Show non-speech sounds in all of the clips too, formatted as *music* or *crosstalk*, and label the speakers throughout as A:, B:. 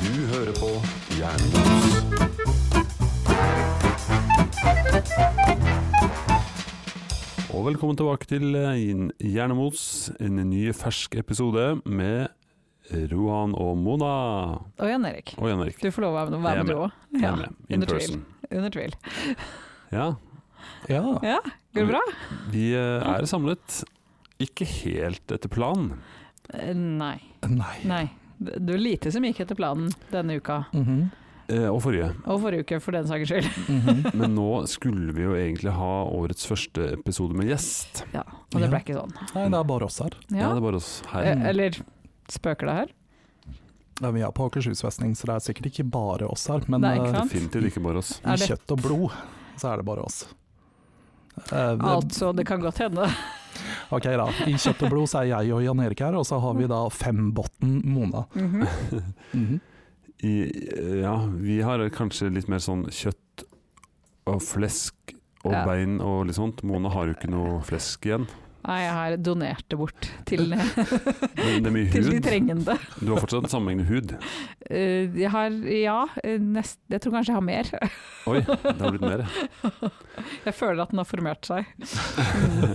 A: Du hører på Jernbos.
B: Og velkommen tilbake til eh, Hjernemos, en ny fersk episode med Rohan og Mona.
C: Og Jan Erik,
B: Og Jan Erik.
C: du får lov å
B: Jeg
C: være
B: er
C: med, du
B: med.
C: òg.
B: Jeg
C: Ja,
B: er med, in
C: under tvil.
B: person.
C: under tvil.
B: Ja,
A: Ja.
C: Ja, går det bra?
B: vi eh, er samlet. Ikke helt etter planen.
C: Eh, Nei.
A: Nei.
C: Nei. Det det var lite som gikk etter planen denne uka,
A: Mhm.
B: eh, Og forrige.
C: og forrige uke for den saks skyld.
A: Mhm.
B: Men nå skulle vi jo egentlig ha årets første episode med gjest.
C: Ja, og det
A: Ja.
C: ble ikke sånn.
A: Nei, det er bare oss her.
B: Ja,
C: Ja.
B: det er bare oss her.
C: Eh, Eller spøker det her?
A: Ja, vi er på Akershus festning, så det er sikkert ikke bare oss her. Men
C: Nei, ikke
A: eh,
C: sant?
B: Definitivt ikke bare oss. *laughs*
C: Er
A: i
C: det-
A: kjøtt og blod så er det bare oss. Eh,
C: Altså, det kan godt hende.
A: Ok da, I kjøtt og blod så er jeg og Jan Erik her, og så har vi da Fembotten Mona.
C: Mhm.
A: Mhm.
B: I, ja, vi har kanskje litt mer sånn kjøtt og flesk og
C: Ja.
B: bein og litt sånt. Mona har jo ikke noe flesk igjen.
C: Nei, jeg har donert det bort til,
B: *laughs* Men det er mye
C: *laughs* til de
B: hud.
C: trengende.
B: Du har fortsatt sammenhengende hud.
C: Eh, Jeg har, ja, eh, nest, jeg tror kanskje jeg har mer. *laughs*
B: Oi, det har blitt mer.
C: Jeg føler at den har formert seg.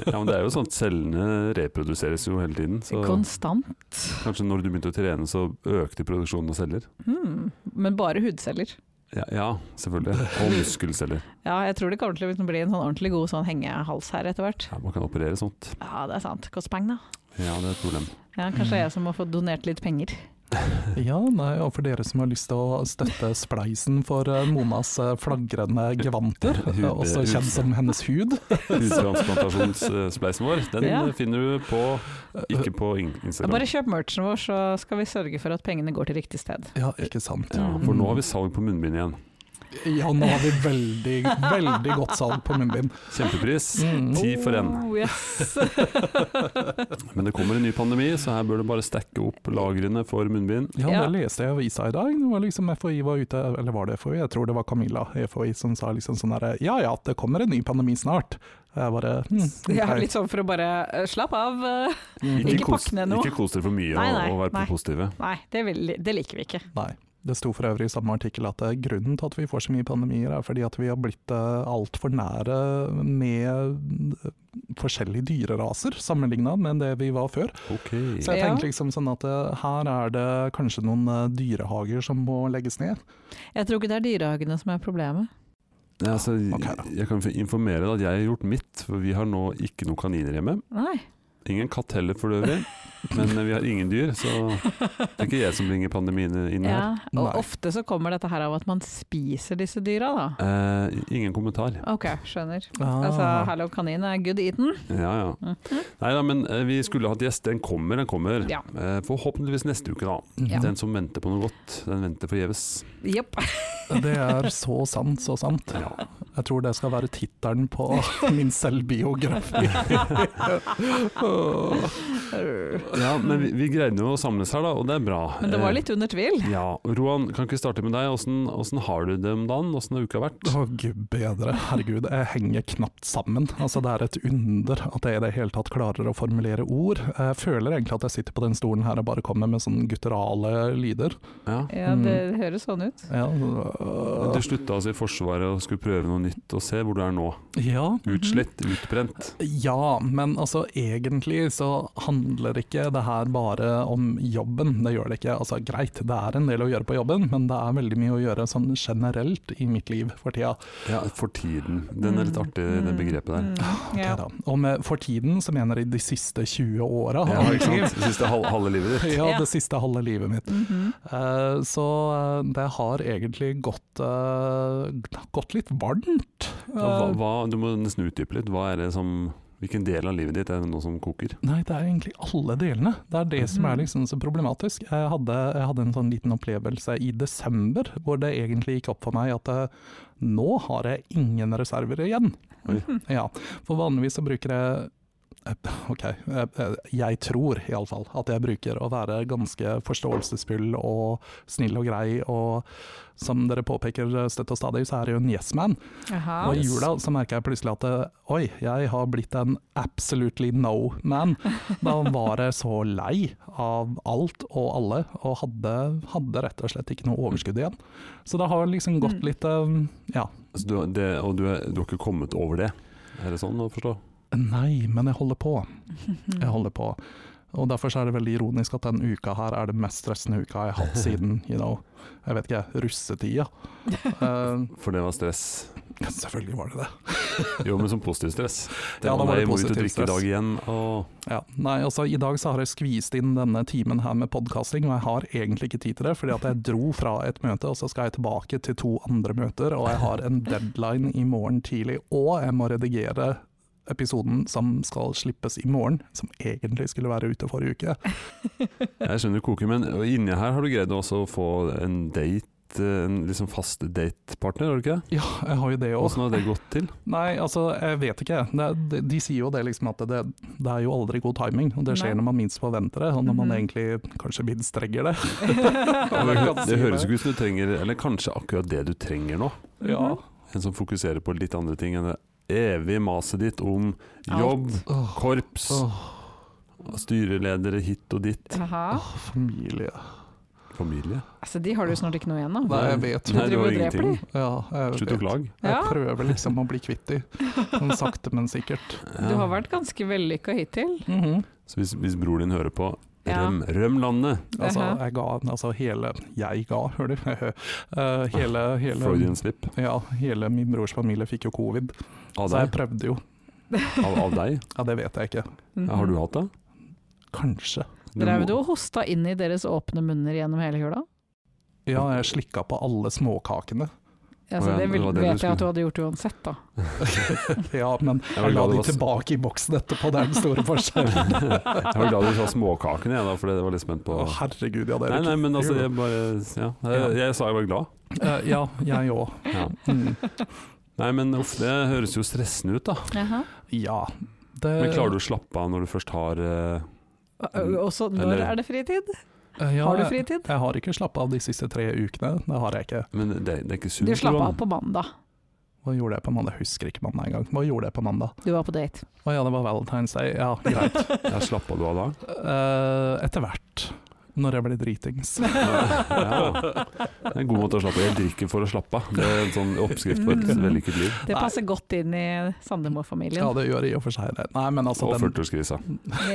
B: Ja, men det er jo sånn at cellene reproduseres jo hele tiden. Så
C: Konstant.
B: kanskje når du begynte å trene, så økte produksjonen av celler.
C: Hmm. Men bare hudceller.
B: Ja, ja selvfølgelig. Og muskelceller.
C: Ja, jeg tror det kommer til å bli en sånn ordentlig god sånn hengehals her etter hvert.
B: Ja, man kan operere sånt.
C: Ja, det er sant. Kost penger, da.
B: Ja, det er et problem.
C: Ja, kanskje jeg som må få donert litt penger.
A: Ja, nei, og for dere som har lyst til å støtte spleisen for eh, Monas eh, flagrende gevanter,
B: Hud-
A: eh, også
B: hud-
A: kjent som hennes hud,
B: Hudtransplantasjonsspleisen vår, den
C: Ja.
B: finner du på
A: eh,
B: Ikke på in-
C: Ja,
B: Instagram.
C: bare kjøp merchen vår, så skal vi sørge for at pengene går til riktig sted.
A: Ja, ikke sant.
B: Ja, for
C: Mm.
B: nå har vi salg på munnbind igjen.
A: Ja, nå har vi veldig, veldig godt salg på munnbind.
B: Kjempepris. Ti for én. *laughs*
C: Oh, yes. *laughs*
B: Men det kommer en ny pandemi, så her bør du bare stacke opp lagrene for munnbind.
A: Ja,
C: Ja.
A: det leste jeg i avisa i dag. Det var liksom FHI var ute, eller var det FHI? Jeg tror det var Camilla i FHI som sa liksom sånn herre Ja ja, det kommer en ny pandemi snart. Jeg bare hm,
C: Ja,
A: ok.
C: litt sånn for å bare eh, Slapp av. *laughs* eh,
A: Mhm.
C: Ikke
B: kos-
C: pakk ned noe.
B: Ikke kos dere for mye
C: Nei, nei,
B: og, og være
C: nei.
B: positive.
C: Nei, det, vil, det liker vi ikke.
A: Nei. Det sto for øvrig i samme artikkel at eh, grunnen til at vi får så mye pandemier, er fordi at vi har blitt altfor nære med eh, forskjellige dyreraser sammenligna med det vi var før.
B: Ok.
A: Så jeg
C: Ja.
A: tenkte liksom sånn at eh, her er det kanskje noen eh, dyrehager som må legges ned.
C: Jeg tror ikke det er dyrehagene som er problemet.
B: Ja, altså,
A: Ok, da.
B: jeg kan informere deg at jeg har gjort mitt, for vi har nå ikke noen kaniner hjemme.
C: Nei.
B: Ingen katt heller for øvrig, men eh, vi har ingen dyr, så det er ikke jeg som bringer pandemien inn her.
C: Ja, og
A: Nei.
C: ofte så kommer dette her av at man spiser disse dyra, da.
B: Eh, ingen kommentar.
C: Ok, skjønner.
B: Ah.
C: Altså, hallo, kanin er good eaten.
B: Ja, ja. Nei da, men eh, vi skulle hatt gjest. Den kommer, den kommer.
C: Mhm. Ja.
B: Eh, forhåpentligvis neste uke, da.
A: Mhm.
C: Ja.
B: Den som venter på noe godt, den venter forgjeves.
C: Jepp.
A: Det er så sant, så sant.
B: Ja.
A: Jeg tror det skal være tittelen *laughs* på min selvbiografi. Åh.
B: ja, men vi, vi greide jo å samles her, da, og det er bra.
C: Men det var
B: Eh,
C: litt under tvil.
B: ja, Roan, kan ikke vi starte med deg? Åssen åssen har du det om dagen? Åssen har uka vært?
A: Å gud bedre, herregud, jeg henger knapt sammen. Altså det er et under at jeg i det hele tatt klarer å formulere ord. Jeg føler egentlig at jeg sitter på den stolen her og bare kommer med sånne gutturale lyder.
B: Ja.
C: Ja, det
B: Mm.
C: høres sånn ut.
A: Ja, øh,
B: Du slutta altså i Forsvaret og skulle prøve noe nytt, og se hvor du er nå.
A: ja
B: Utslitt, utbrent.
A: Ja, men altså egentlig så handler ikke det her bare om jobben. Det gjør det ikke. Altså greit, det er en del å gjøre på jobben, men det er veldig mye å gjøre sånn generelt i mitt liv for tida.
B: Ja, for tiden. Den er litt
C: Mhm.
B: artig, det begrepet der.
C: Mm,
B: *laughs*
A: Ok
C: ja.
A: da. Og med for tiden så mener jeg de siste 20 åra. liksom-
B: Ja, ikke sant? Siste halve, halve livet ditt.
A: *laughs* Ja,
C: Ja.
A: det siste halve livet mitt.
C: Mhm.
A: Eh, Så eh, det har egentlig gått, eh, gått litt varmt.
B: Ja, hva, hva, du må nesten utdype litt. Hva er det som, hvilken del av livet ditt er det nå som koker?
A: Nei, det er egentlig alle delene. Det er det som er liksom så problematisk. Jeg hadde, jeg hadde en sånn liten opplevelse i desember hvor det egentlig gikk opp for meg at eh, nå har jeg ingen reserver igjen.
B: Oi.
A: *laughs* Ja, for vanligvis så bruker jeg Ok, eh, jeg tror iallfall at jeg bruker å være ganske forståelsesfull og snill og grei, og som dere påpeker støtt og stadig, så er jeg jo en yes man.
C: Jaha.
A: Og i
B: Yes.
A: jula så merka jeg plutselig at eh, oi, jeg har blitt en absolutely no man. Da var jeg så lei av alt og alle, og hadde, hadde rett og slett ikke noe overskudd igjen. Så det har liksom gått
C: Mm.
A: litt eh, ja.
B: Altså, du, det, og du, er, du har ikke kommet over det? Er det sånn å forstå?
A: Nei, men jeg holder på. Jeg holder på. Og derfor så er det veldig ironisk at den uka her er det mest stressende uka jeg har hatt siden you know, jeg vet ikke, russetida. Eh,
B: For det var stress.
A: selvfølgelig var det det.
B: Jo, men som positiv stress.
A: Ja, da
B: å,
A: var det
B: nei, må ut og
A: positiv
B: drikke i
A: stress.
B: dag igjen. Og
A: Ja, nei, altså I dag så har jeg skvist inn denne timen her med podkasting, og jeg har egentlig ikke tid til det, fordi at jeg dro fra et møte, og så skal jeg tilbake til to andre møter, og jeg har en deadline i morgen tidlig, og jeg må redigere episoden som skal slippes i morgen, som egentlig skulle være ute forrige uke.
B: jeg skjønner koken, men inni her har du greid også å få en date, en liksom fast datepartner, har du ikke det?
A: Ja, jeg har jo det òg.
B: Åssen har det gått
A: *laughs*
B: til?
A: Nei, altså, jeg vet ikke. Det, de, de sier jo det liksom at det, det er jo aldri god timing, og det skjer
C: Nei.
A: når man minst forventer det, og når man
C: Mhm.
A: egentlig kanskje minst
B: *laughs*
A: trenger det.
B: Det,
A: Jeg kan si
B: det høres ikke ut som du trenger, eller kanskje akkurat det du trenger nå.
A: Ja.
B: En som fokuserer på litt andre ting enn det evige maset ditt om jobb,
A: Åh,
B: korps,
A: åh,
B: styreledere hit og dit.
C: Jaha.
A: åh, familie.
B: Familie.
C: Altså, de har du snart ikke noe igjen av.
A: Nei, jeg vet.
B: Nei, du
C: Driver
B: har
C: og dreper
B: ingenting.
A: Ja, jeg,
B: Slutt å
A: vet.
B: klage.
C: Ja.
A: jeg prøver liksom å bli kvitt de, sånn sakte, men sikkert.
C: Du har vært ganske vellykka hittil.
A: Mhm.
B: Så hvis, hvis bror din hører på,
C: Ja.
B: røm, røm landet!
A: Altså,
C: Jaha.
A: jeg ga altså hele Jeg ga, hører du? *laughs* Eh, hele, hele,
B: Freudian slip.
A: ja, hele min brors familie fikk jo covid,
B: Av
A: så jeg
B: deg?
A: prøvde jo.
B: Av, av deg?
A: Ja, det vet jeg ikke.
C: Mhm.
B: Ja, Har du hatt det?
A: Kanskje.
B: Du
C: Mm-hmm. Drev
B: må-
C: du og hosta inn i deres åpne munner gjennom hele jula?
A: Ja, jeg slikka på alle småkakene.
B: Å
C: Altså,
B: ja,
C: det vil,
B: det var det du
C: vet jeg at du
B: skulle-
C: hadde gjort uansett, da.
A: Ja, men
B: Jeg var
A: jeg la
B: glad det
A: de
B: var s-
A: tilbake i boksen etterpå, det er den store
B: *laughs*
A: forskjellen.
B: Jeg var glad du sa småkakene, jeg, da, for det var litt spent på
A: Å, herregud, ja, det
B: Nei,
A: er
B: nei, men altså,
A: ikke
B: jeg bare Ja, jeg, jeg sa jeg var glad.
A: Eh, Ja, jeg òg.
B: Ja.
A: Mm.
B: Nei, men uff, det høres jo stressende ut, da.
A: Ja. Det,
B: Men klarer du å slappe av når du først har eh,
C: Og så, når
B: Eller-
C: er det fritid?
A: Eh, ja,
C: Har du
A: jeg-
C: fritid? Jeg,
A: Jeg har ikke slappa av de siste tre ukene. Det har jeg ikke.
B: Men det, det er ikke sunt?
C: du slapp av på mandag.
A: Hva gjorde jeg på mandag? Jeg husker ikke mandag engang. Hva gjorde jeg på mandag?
C: Du var på date.
A: Å ja, det var Valentine's Day. Ja, greit.
B: Ja, slappa du av da?
A: Eh, etter hvert. Når jeg ble dritings.
B: Ja. Det er en god måte å slappe av. Jeg drikker for å slappe av. Det er en sånn oppskrift på et
C: Mm.
B: vellykket liv.
C: Det
A: Nei.
C: passer godt inn i
A: Ja,
C: Sandemo-familien.
A: det gjør i og for seg det. Nei, men altså,
B: Og
A: den
B: 40-årskrisa.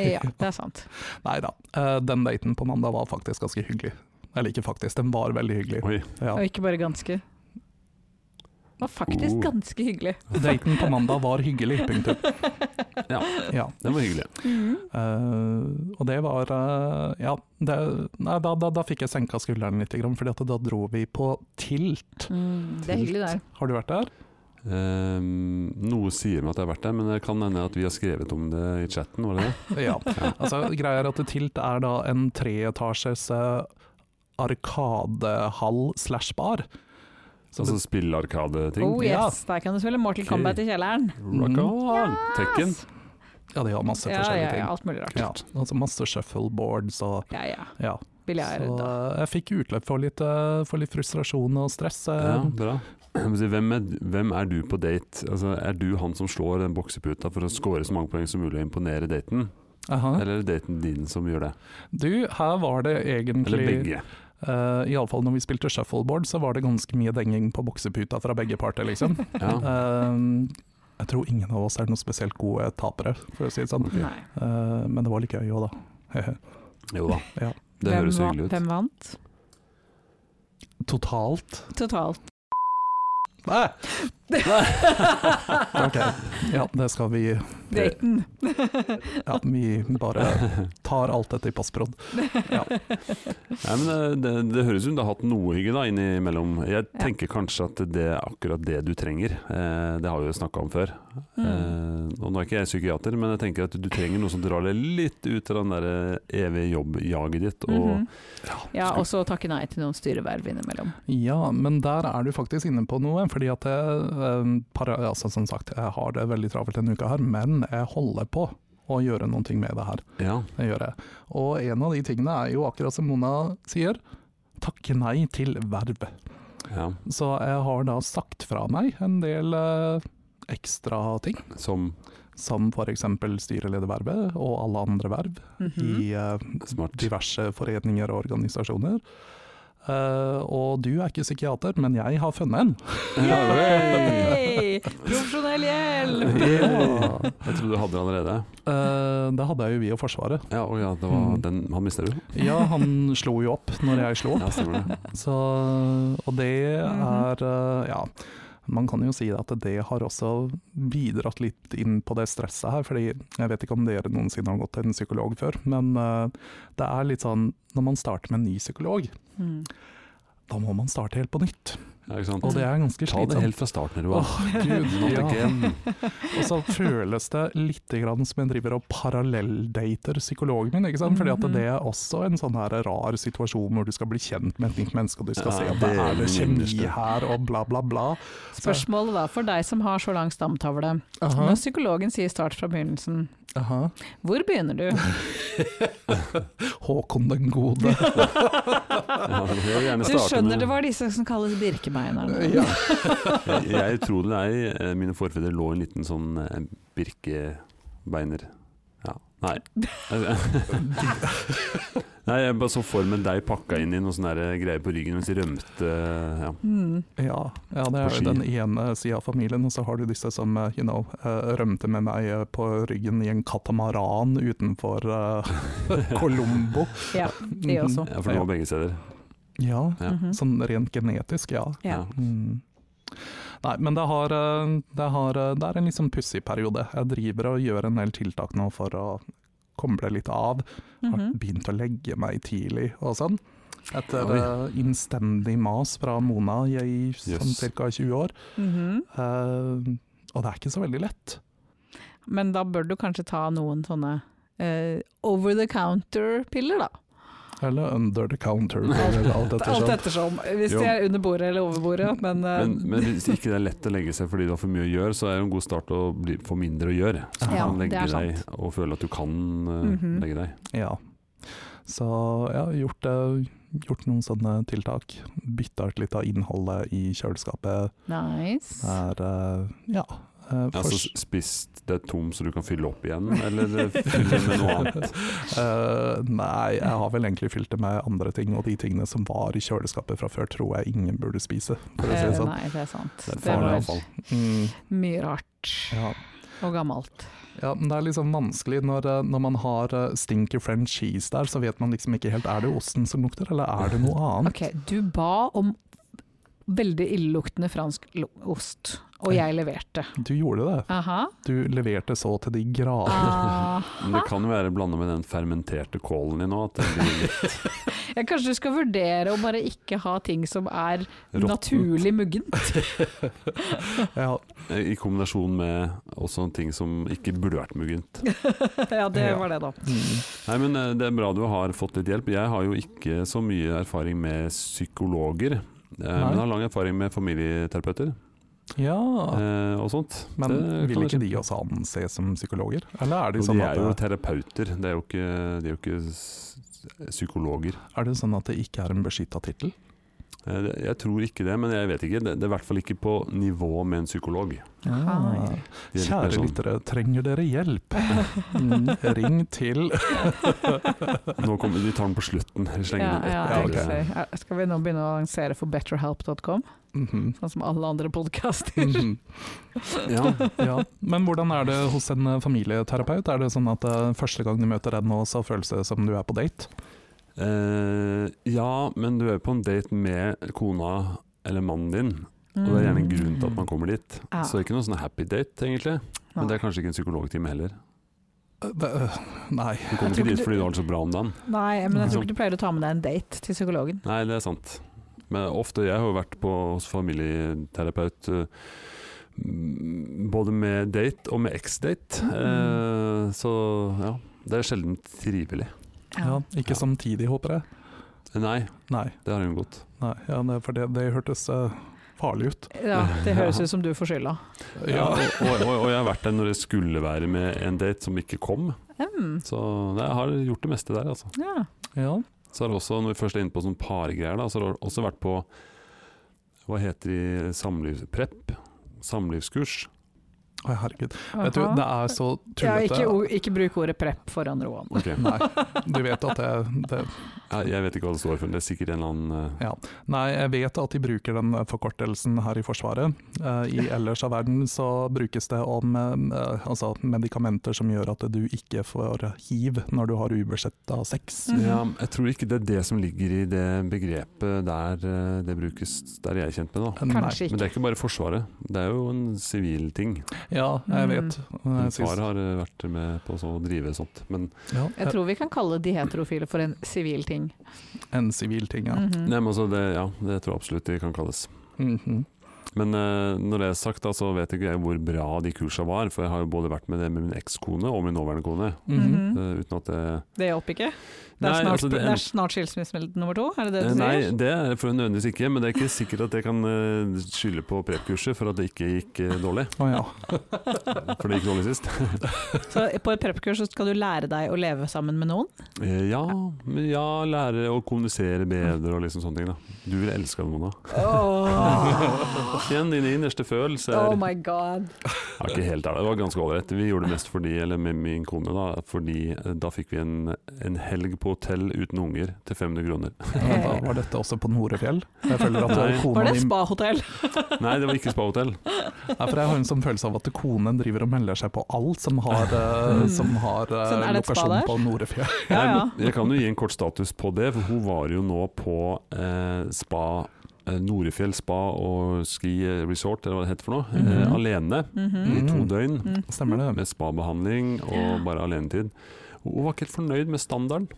C: Ja, det er sant.
A: Nei da. Eh, den daten på mandag var faktisk ganske hyggelig. Eller ikke faktisk, den var veldig hyggelig.
B: Oi.
A: Ja.
C: Og ikke bare ganske. Det var faktisk
B: Oh.
C: ganske hyggelig.
A: *laughs* Daten på mandag var hyggelig, *laughs* punktum.
B: Ja.
A: Ja.
B: Den var hyggelig.
C: Mm.
A: Eh, og det var eh, Ja, det, nei, da, da, da fikk jeg senka skulderen litt, for da dro vi på Tilt.
C: Mm, det er hyggelig der.
A: Har du vært der?
B: Ehm, noe sier meg at jeg har vært der, men det kan hende at vi har skrevet om det i chatten. Var det det? *laughs*
A: Ja. Altså, greia er at Tilt er da en treetasjes eh, arkadehall slash bar. Så
B: Altså
A: det-
B: spillarkadeting.
C: Oh
A: Ja.
C: yes, der kan du spille Mortal
B: Ok.
C: Kombat i kjelleren.
B: Rock on! Tekken.
A: ja, de har masse
C: Ja, ja,
A: forskjellige
C: ja,
A: ting.
C: alt mulig rart.
A: Ja, altså masse shuffleboards og
C: Ja, ja.
A: ja.
C: Biljard.
A: Så
C: da.
A: eh, jeg fikk utløp for litt, eh, for litt frustrasjon og stress. eh.
B: Ja, bra. Um, Jeg må si, Hvem er, hvem er du på date? Altså, er du han som slår den bokseputa for å score så mange poeng som mulig og imponere daten?
A: Aha.
B: Eller er det daten din som gjør det?
A: Du, her var det
B: Eller
A: egentlig
B: begge?
A: Uh, Iallfall når vi spilte shuffleboard, så var det ganske mye denging på bokseputa fra begge parter, liksom. *laughs*
B: Ja.
A: Eh, jeg tror ingen av oss er noen spesielt gode tapere, for å si det sånn.
C: Nei.
A: Eh, men det var litt gøy òg, da. *laughs*
B: Jo da.
A: Ja.
B: Det høres
C: va-
B: hyggelig ut.
C: Hvem vant?
A: Totalt.
C: Totalt.
A: Nei! *laughs* Ok, ja, det skal vi
C: Daten.
A: *laughs*
C: Mm.
A: Ja, vi bare tar alt dette i passprod.
B: *laughs* Nei, men eh, det, det høres ut som du har hatt noe hygge da innimellom. Jeg
C: Ja.
B: tenker kanskje at det er akkurat det du trenger. Eh, det har vi jo snakka om før.
C: Mm.
B: Eh, og nå er ikke jeg psykiater, men jeg tenker at du trenger noe som drar deg litt ut av den der eh, evige jobbjaget ditt. Og
C: Mhm. Ja, og så takke nei til noen styreverv innimellom.
A: Ja, men der er du faktisk inne på noe. fordi at jeg, eh, para, altså, Som sagt, jeg har det veldig travelt denne uka, her, men jeg holder på. og gjøre noen ting med det her.
B: Ja.
A: Det gjør jeg. Og en av de tingene er jo akkurat som Mona sier, takke nei til verv.
B: ja.
A: Så jeg har da sagt fra meg en del eh, ekstra ting,
B: Som
A: som f.eks. styreledervervet og alle andre verv
C: Mhm.
A: i eh,
B: smart.
A: diverse foreninger og organisasjoner. Eh, og du er ikke psykiater, men jeg har funnet en.
C: Yay! Profesjonell
A: *laughs*
C: hjelp!
A: Ja.
B: Jeg trodde du hadde det allerede.
A: Eh, det hadde jo vi og Forsvaret.
B: Ja, å ja, det var
A: Mm.
B: den han mista du.
A: Ja, han slo jo opp når jeg slo opp.
B: Ja, stemmer det.
A: Så, og det er eh, Ja, man kan jo si at det har også bidratt litt inn på det stresset her. fordi jeg vet ikke om dere noensinne har gått til en psykolog før, men eh, det er litt sånn når man starter med en ny psykolog,
C: Mm.
A: da må man starte helt på nytt.
B: Ja, ikke sant?
A: Og det er ganske
B: Ta det
A: slitsomt.
B: helt fra starten, Roa.
A: Åh, gud,
B: Not
A: ja.
B: again.
A: Og så føles det litt grann som jeg driver og parallelldater psykologen min. ikke sant? Fordi
C: Mhm.
A: at det er også en sånn her rar situasjon hvor du skal bli kjent med et nytt menneske, og du skal
B: Ja,
A: se
B: det
A: at det er
B: er
A: det kjemi
B: minste.
A: her, og bla, bla, bla.
C: Spørsmålet da, for deg som har så lang stamtavle.
A: Aha,
C: Når psykologen sier start fra begynnelsen,
A: aha.
C: hvor begynner du?
A: Håkon
C: *laughs*
A: den gode.
B: Ja, jeg vil gjerne
C: Du
B: starte
C: skjønner
B: med-
C: det var disse som kalles birkebeinerne.
A: Ja.
B: Jeg- Jeg tror det er eh, Mine forfedre lå i en liten sånn eh, birkebeiner Ja, nei Nei, jeg bare så for meg deg pakka inn i noen sånne der greier på ryggen mens de rømte ja.
C: Mm.
A: Ja, ja, det er
B: På
A: jo
B: ski.
A: den ene sida av familien, og så har du disse som eh, you know, eh, rømte med meg eh, på ryggen i en katamaran utenfor
B: *laughs*
A: eh, Colombo.
C: Ja, det også.
B: ja, for det var begge steder
A: Ja,
B: Ja.
C: Mhm.
A: sånn rent genetisk, ja.
C: Ja.
A: Mm. Nei, men det, har, eh, det, har, eh, det er en litt sånn pussig periode. Jeg driver og gjør en del tiltak nå for å koble litt av. Har
C: Mhm.
A: begynt å legge meg tidlig og sånn. Etter
B: Oi.
A: eh, innstendig mas fra Mona i i sånn
B: Jøss.
A: ca. 20 år.
C: Mhm.
A: Eh, og det er ikke så veldig lett.
C: Men da bør du kanskje ta noen sånne eh, over the counter-piller, da.
A: Eller under the counter, eller
C: Alt
A: alt ettersom.
C: ettersom. Hvis
B: Jo.
C: de er under bordet eller over bordet, men, eh,
B: men, men hvis ikke det er lett å legge seg fordi du har for mye å gjøre Så er det en god start å bli, få mindre å gjøre Så du
C: Ja,
B: kan
C: det
B: legge
C: er sant.
B: deg og føle at du kan eh,
C: Mhm.
B: legge deg
A: Ja. Så jeg har gjort, eh, gjort noen sånne tiltak. Bytta ut litt av innholdet i kjøleskapet.
C: Nice.
A: er eh, ja. eh,
B: Altså
A: fors-
B: spist det tom så du kan fylle opp igjen Eller *laughs* fylle med noe annet
A: *laughs* Eh, nei, jeg har vel egentlig fylt det med andre ting, og de tingene som var i kjøleskapet fra før, tror jeg ingen burde spise, for å si det
C: Eh,
A: sånn.
C: Nei, det er sant.
B: Det er
A: farlig
C: var
B: avfall.
A: Mm,
C: Mye rart
A: ja.
C: og gammelt.
A: ja, men det er liksom vanskelig når, eh, når man har eh, stinky french cheese der, så vet man liksom ikke helt er det osten som lukter, eller er det noe annet?
C: Ok, du ba om veldig illeluktende fransk lo- ost, og jeg leverte.
A: Du gjorde det.
C: Aha.
A: Du leverte så til de grader.
C: Ah.
B: Men det kan jo være blanda med den fermenterte kålen din nå, at det blir litt
C: *laughs* Ja, kanskje du skal vurdere å bare ikke ha ting som er *laughs*
B: råttent.
C: naturlig muggent.
A: *laughs* Ja,
B: eh, I kombinasjon med også ting som ikke burde vært muggent.
C: ja, det
A: Ja.
C: var det, da.
A: mm,
B: Nei, men eh, det er bra du har fått litt hjelp. Jeg har jo ikke så mye erfaring med psykologer. eh, Men har lang erfaring med familieterapeuter
A: ja.
B: eh, og sånt.
A: men
B: Det
A: vil
B: kan
A: ikke de også anses som psykologer? Eller er
B: Jo,
A: det sånn
B: de
A: at
B: er jo
A: det,
B: terapeuter, de er jo ikke, de er jo ikke s- psykologer.
A: er det, sånn at det ikke er en beskytta tittel?
B: Eh, det- Jeg tror ikke det, men jeg vet ikke. Det det er i hvert fall ikke på nivå med en psykolog.
C: Ah,
A: Ah.
B: De er litt mer
A: Kjære
B: sånn-
A: lyttere, trenger dere hjelp? Mm, Ring til
B: Nå kommer, vi tar den på slutten. Vi
C: Ja,
B: slenger den
C: ja,
B: etter.
A: ok.
C: riktig. Er- Skal vi nå begynne å annonsere for betterhelp.com,
A: Mhm,
C: sånn som alle andre
A: *laughs*
C: podkaster?
A: mhm.
B: Ja,
A: Ja. Men hvordan er det hos en eh, familieterapeut? Er det sånn at eh, første gang du møter en nå, så føles det som du er på date?
B: Eh, ja, men du er på en date med kona eller mannen din, og det er gjerne en grunn til at man kommer dit.
C: Ja.
B: Så det er ikke noen sånn happy date, egentlig. Men det
C: Nei.
B: er kanskje ikke en psykologtime heller.
A: Eh, det- eh, Nei.
B: Du kommer
C: tror
B: ikke
C: ikke
B: dit
C: du-
B: fordi du har det så bra om dagen.
C: Nei, men jeg tror
B: Liksom-
C: ikke du pleier å ta med deg en date til psykologen.
B: Nei, det er sant. Men ofte, jeg har jo vært på, hos familieterapeut eh, m- både med date og med eks-date.
C: Mm.
B: Eh, så ja, det er sjelden trivelig.
A: Ja, ikke
B: Ja.
A: samtidig, håper jeg.
B: Nei,
A: Nei,
B: det har hun gått.
A: nei ja, det- for det, det hørtes eh, farlig ut.
C: Ja, det høres ut som du får skylda.
B: Ja, og, og, og jeg har vært der når jeg skulle være med en date som ikke kom.
C: Mm.
B: Så nei, jeg har gjort det meste der, altså.
C: Ja.
A: Ja.
B: Så har det også, når vi først er inne på sånn pargreier, da, så har det også vært på Hva heter de samlivsprepp? Samlivskurs.
A: Oi, herregud. Vet du, det er så
C: ja,
A: tullete.
C: ikke, o- ikke bruk ordet prep foran Roan.
B: Ok, Jeg,
A: *laughs* Nei, du vet at det, det
B: jeg vet ikke hva det står for, men det er sikkert en eller annen eh,
A: Ja. Nei, jeg vet at de bruker den forkortelsen her i Forsvaret. Eh, I ellers av verden så brukes det om eh, altså medikamenter som gjør at du ikke får hiv når du har ubudsjetta sex.
C: Mhm.
B: ja, Jeg tror ikke det er det som ligger i det begrepet der eh, det brukes, der jeg er kjent med, da.
A: Nei.
B: Men
C: Kanskje
B: det
C: ikke.
B: er ikke bare Forsvaret, det er jo en sivil ting.
A: Ja,
C: Mm.
A: jeg vet.
B: Min
A: Jeg synes-
B: far har eh, vært med på så å drive sånt. Men,
A: ja,
C: Jeg tror vi kan kalle de heterofile for en sivil ting.
A: En sivil ting, ja.
C: Mhm.
B: nei, men altså, det, ja, det tror jeg absolutt det kan kalles.
C: Mm.
A: Mhm.
B: Men eh, når det er sagt, da, så vet ikke jeg hvor bra de kursa var. For jeg har jo både vært med det med min ekskone og min nåværende kone.
A: Mhm.
C: Mhm.
B: eh, uten at det
C: Det hjalp ikke? Det er
B: Nei,
C: snart,
B: altså, det-
C: det er snart skilsmisse nummer to, er det det
B: Eh,
C: du
B: Nei,
C: sier?
B: det er for nødvendigvis ikke. Men det er ikke sikkert at jeg kan eh, skylde på prep-kurset for at det ikke gikk eh, dårlig.
A: Å ja.
C: *laughs*
B: For det gikk dårlig sist.
C: Så på et prep-kurs så skal du lære deg å leve sammen med noen?
B: Eh, ja, men ja, lære å kommunisere bedre og liksom sånne ting. da. Du vil elske det, Mona.
C: Oh,
B: Kjenn dine innerste følelser.
C: my god.
B: Ja, ikke helt ærlig, det var ganske ålreit. Vi gjorde det mest fordi, eller med min kone, da, fordi eh, da fikk vi en, en helg på hotell uten unger til 500 kroner.
A: Men da var dette også på Norefjell? Jeg føler
B: Nei.
A: at
C: Var
A: kona
C: det et
A: di
C: spahotell?
B: Nei, det var ikke spahotell.
A: Nei, for jeg har en sånn følelse av at konen driver og melder seg på alt som har, eh, som har eh,
C: Sånn, er det et spa
A: lokasjon
C: der?
A: på Norefjell.
C: Ja, ja.
B: Jeg, jeg kan jo gi en kort status på det, for hun var jo nå på eh, spa eh, Norefjell spa og ski resort, eller hva det heter for noe, eh,
C: Mhm.
B: alene
C: Mhm.
B: i to
A: Mm.
B: døgn.
C: Mm.
A: *laughs* Stemmer det?
B: Med spabehandling og bare alenetid. Hun var ikke helt fornøyd med standarden.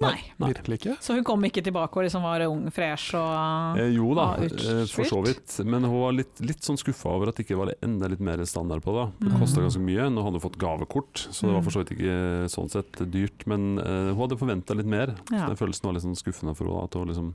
C: Nei.
B: Nei.
A: Virkelig ikke?
C: Så hun kom ikke tilbake og liksom var ung, fresh og
B: Eh, jo da,
C: Ah,
B: eh, for så vidt. Men hun var litt, litt sånn skuffa over at det ikke var det enda litt mer standard på det. da. Det
C: Mm.
B: kosta ganske mye. Nå hadde hun fått gavekort, så det var for så vidt ikke eh, sånn sett dyrt. Men eh, hun hadde forventa litt mer.
C: Ja.
B: Så Den følelsen var litt sånn skuffende for henne. da, At hun liksom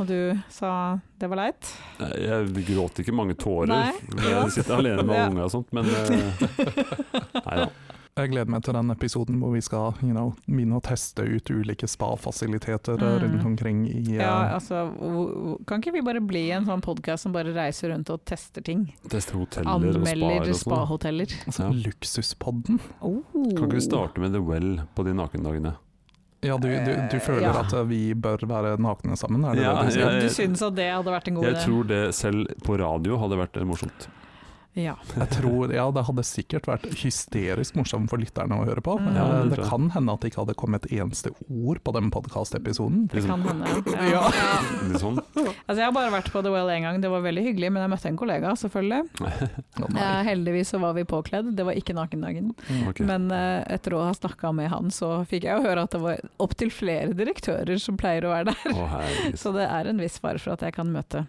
C: Og du sa det var leit?
B: eh, Jeg gråt ikke mange tårer,
C: Nei.
B: for jeg sitter alene med
C: Ja.
B: unga og sånt, men
C: *laughs*
B: eh, Nei da.
A: Jeg gleder meg til den episoden hvor vi skal you know, begynne å teste ut ulike spafasiliteter eh,
C: Mm.
A: rundt omkring i eh,
C: Ja, altså, hvor- hvor- kan ikke vi bare bli en sånn podkast som bare reiser rundt og tester ting?
B: Teste hoteller og spaer
C: Anmelder
B: og sånn.
C: spahoteller.
A: altså,
B: ja.
A: luksuspodden.
C: Oh.
B: Kan ikke vi starte med The Well på de nakendagene?
A: Ja, du, du, du føler
C: Ja.
A: at eh, vi bør være nakne sammen? Er det
B: Ja,
A: det du sier?
B: ja, ja.
C: Du syns at det hadde vært en god
B: Jeg
C: idé?
B: tror det selv på radio hadde vært eh, morsomt.
C: Ja.
A: Jeg tror, ja, det hadde sikkert vært hysterisk morsomt for lytterne å høre på.
C: Mm.
B: Ja,
A: Eh,
B: det
A: det
B: tror jeg.
A: kan hende at det ikke hadde kommet et eneste ord på den podkastepisoden.
C: Det kan
B: Liksom. *laughs*
C: hende. Ja.
A: Ja.
B: Litt
C: *laughs*
B: sånn.
C: Altså, jeg har bare vært på The Well én gang, det var veldig hyggelig, men jeg møtte en kollega, selvfølgelig.
A: Ja,
C: Eh,
A: nei.
C: heldigvis så var vi påkledd, det var ikke nakendagen.
A: Mm.
B: Ok.
C: Men eh, etter å ha snakka med han, så fikk jeg jo høre at det var opptil flere direktører som pleier å være der.
B: Å, herregud.
C: Så det er en viss fare for at jeg kan møte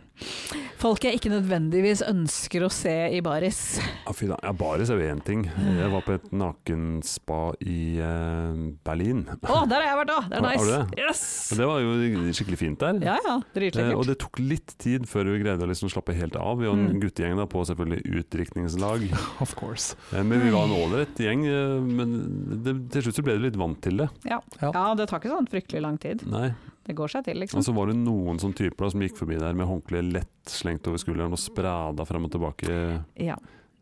C: folk jeg ikke nødvendigvis ønsker å se i baris.
B: Ja, fy da. Ja, baris er jo én ting. Jeg var på et nakenspa i eh, Berlin.
C: Å, der har jeg vært òg! Det
B: Har-
C: er nice!
B: har du Og
C: Yes!
B: det var jo skikkelig fint der.
C: Ja
B: Eh,
C: ja,
B: og
C: dritlekkert.
B: det tok litt tid før vi greide å liksom slappe helt av. Vi var en
C: Mm.
B: guttegjeng da, på selvfølgelig utdrikningslag.
A: Of course.
B: Eh, men vi var en ålreit gjeng. eh, men det, til slutt så ble du litt vant til det.
C: Ja, det tar ikke sånn fryktelig lang tid.
B: Nei.
C: Det går seg til, liksom.
B: Og så var det noen sånn typer da, som gikk forbi der med håndkleet lett slengt over skulderen og sprada frem og tilbake.
C: Ja.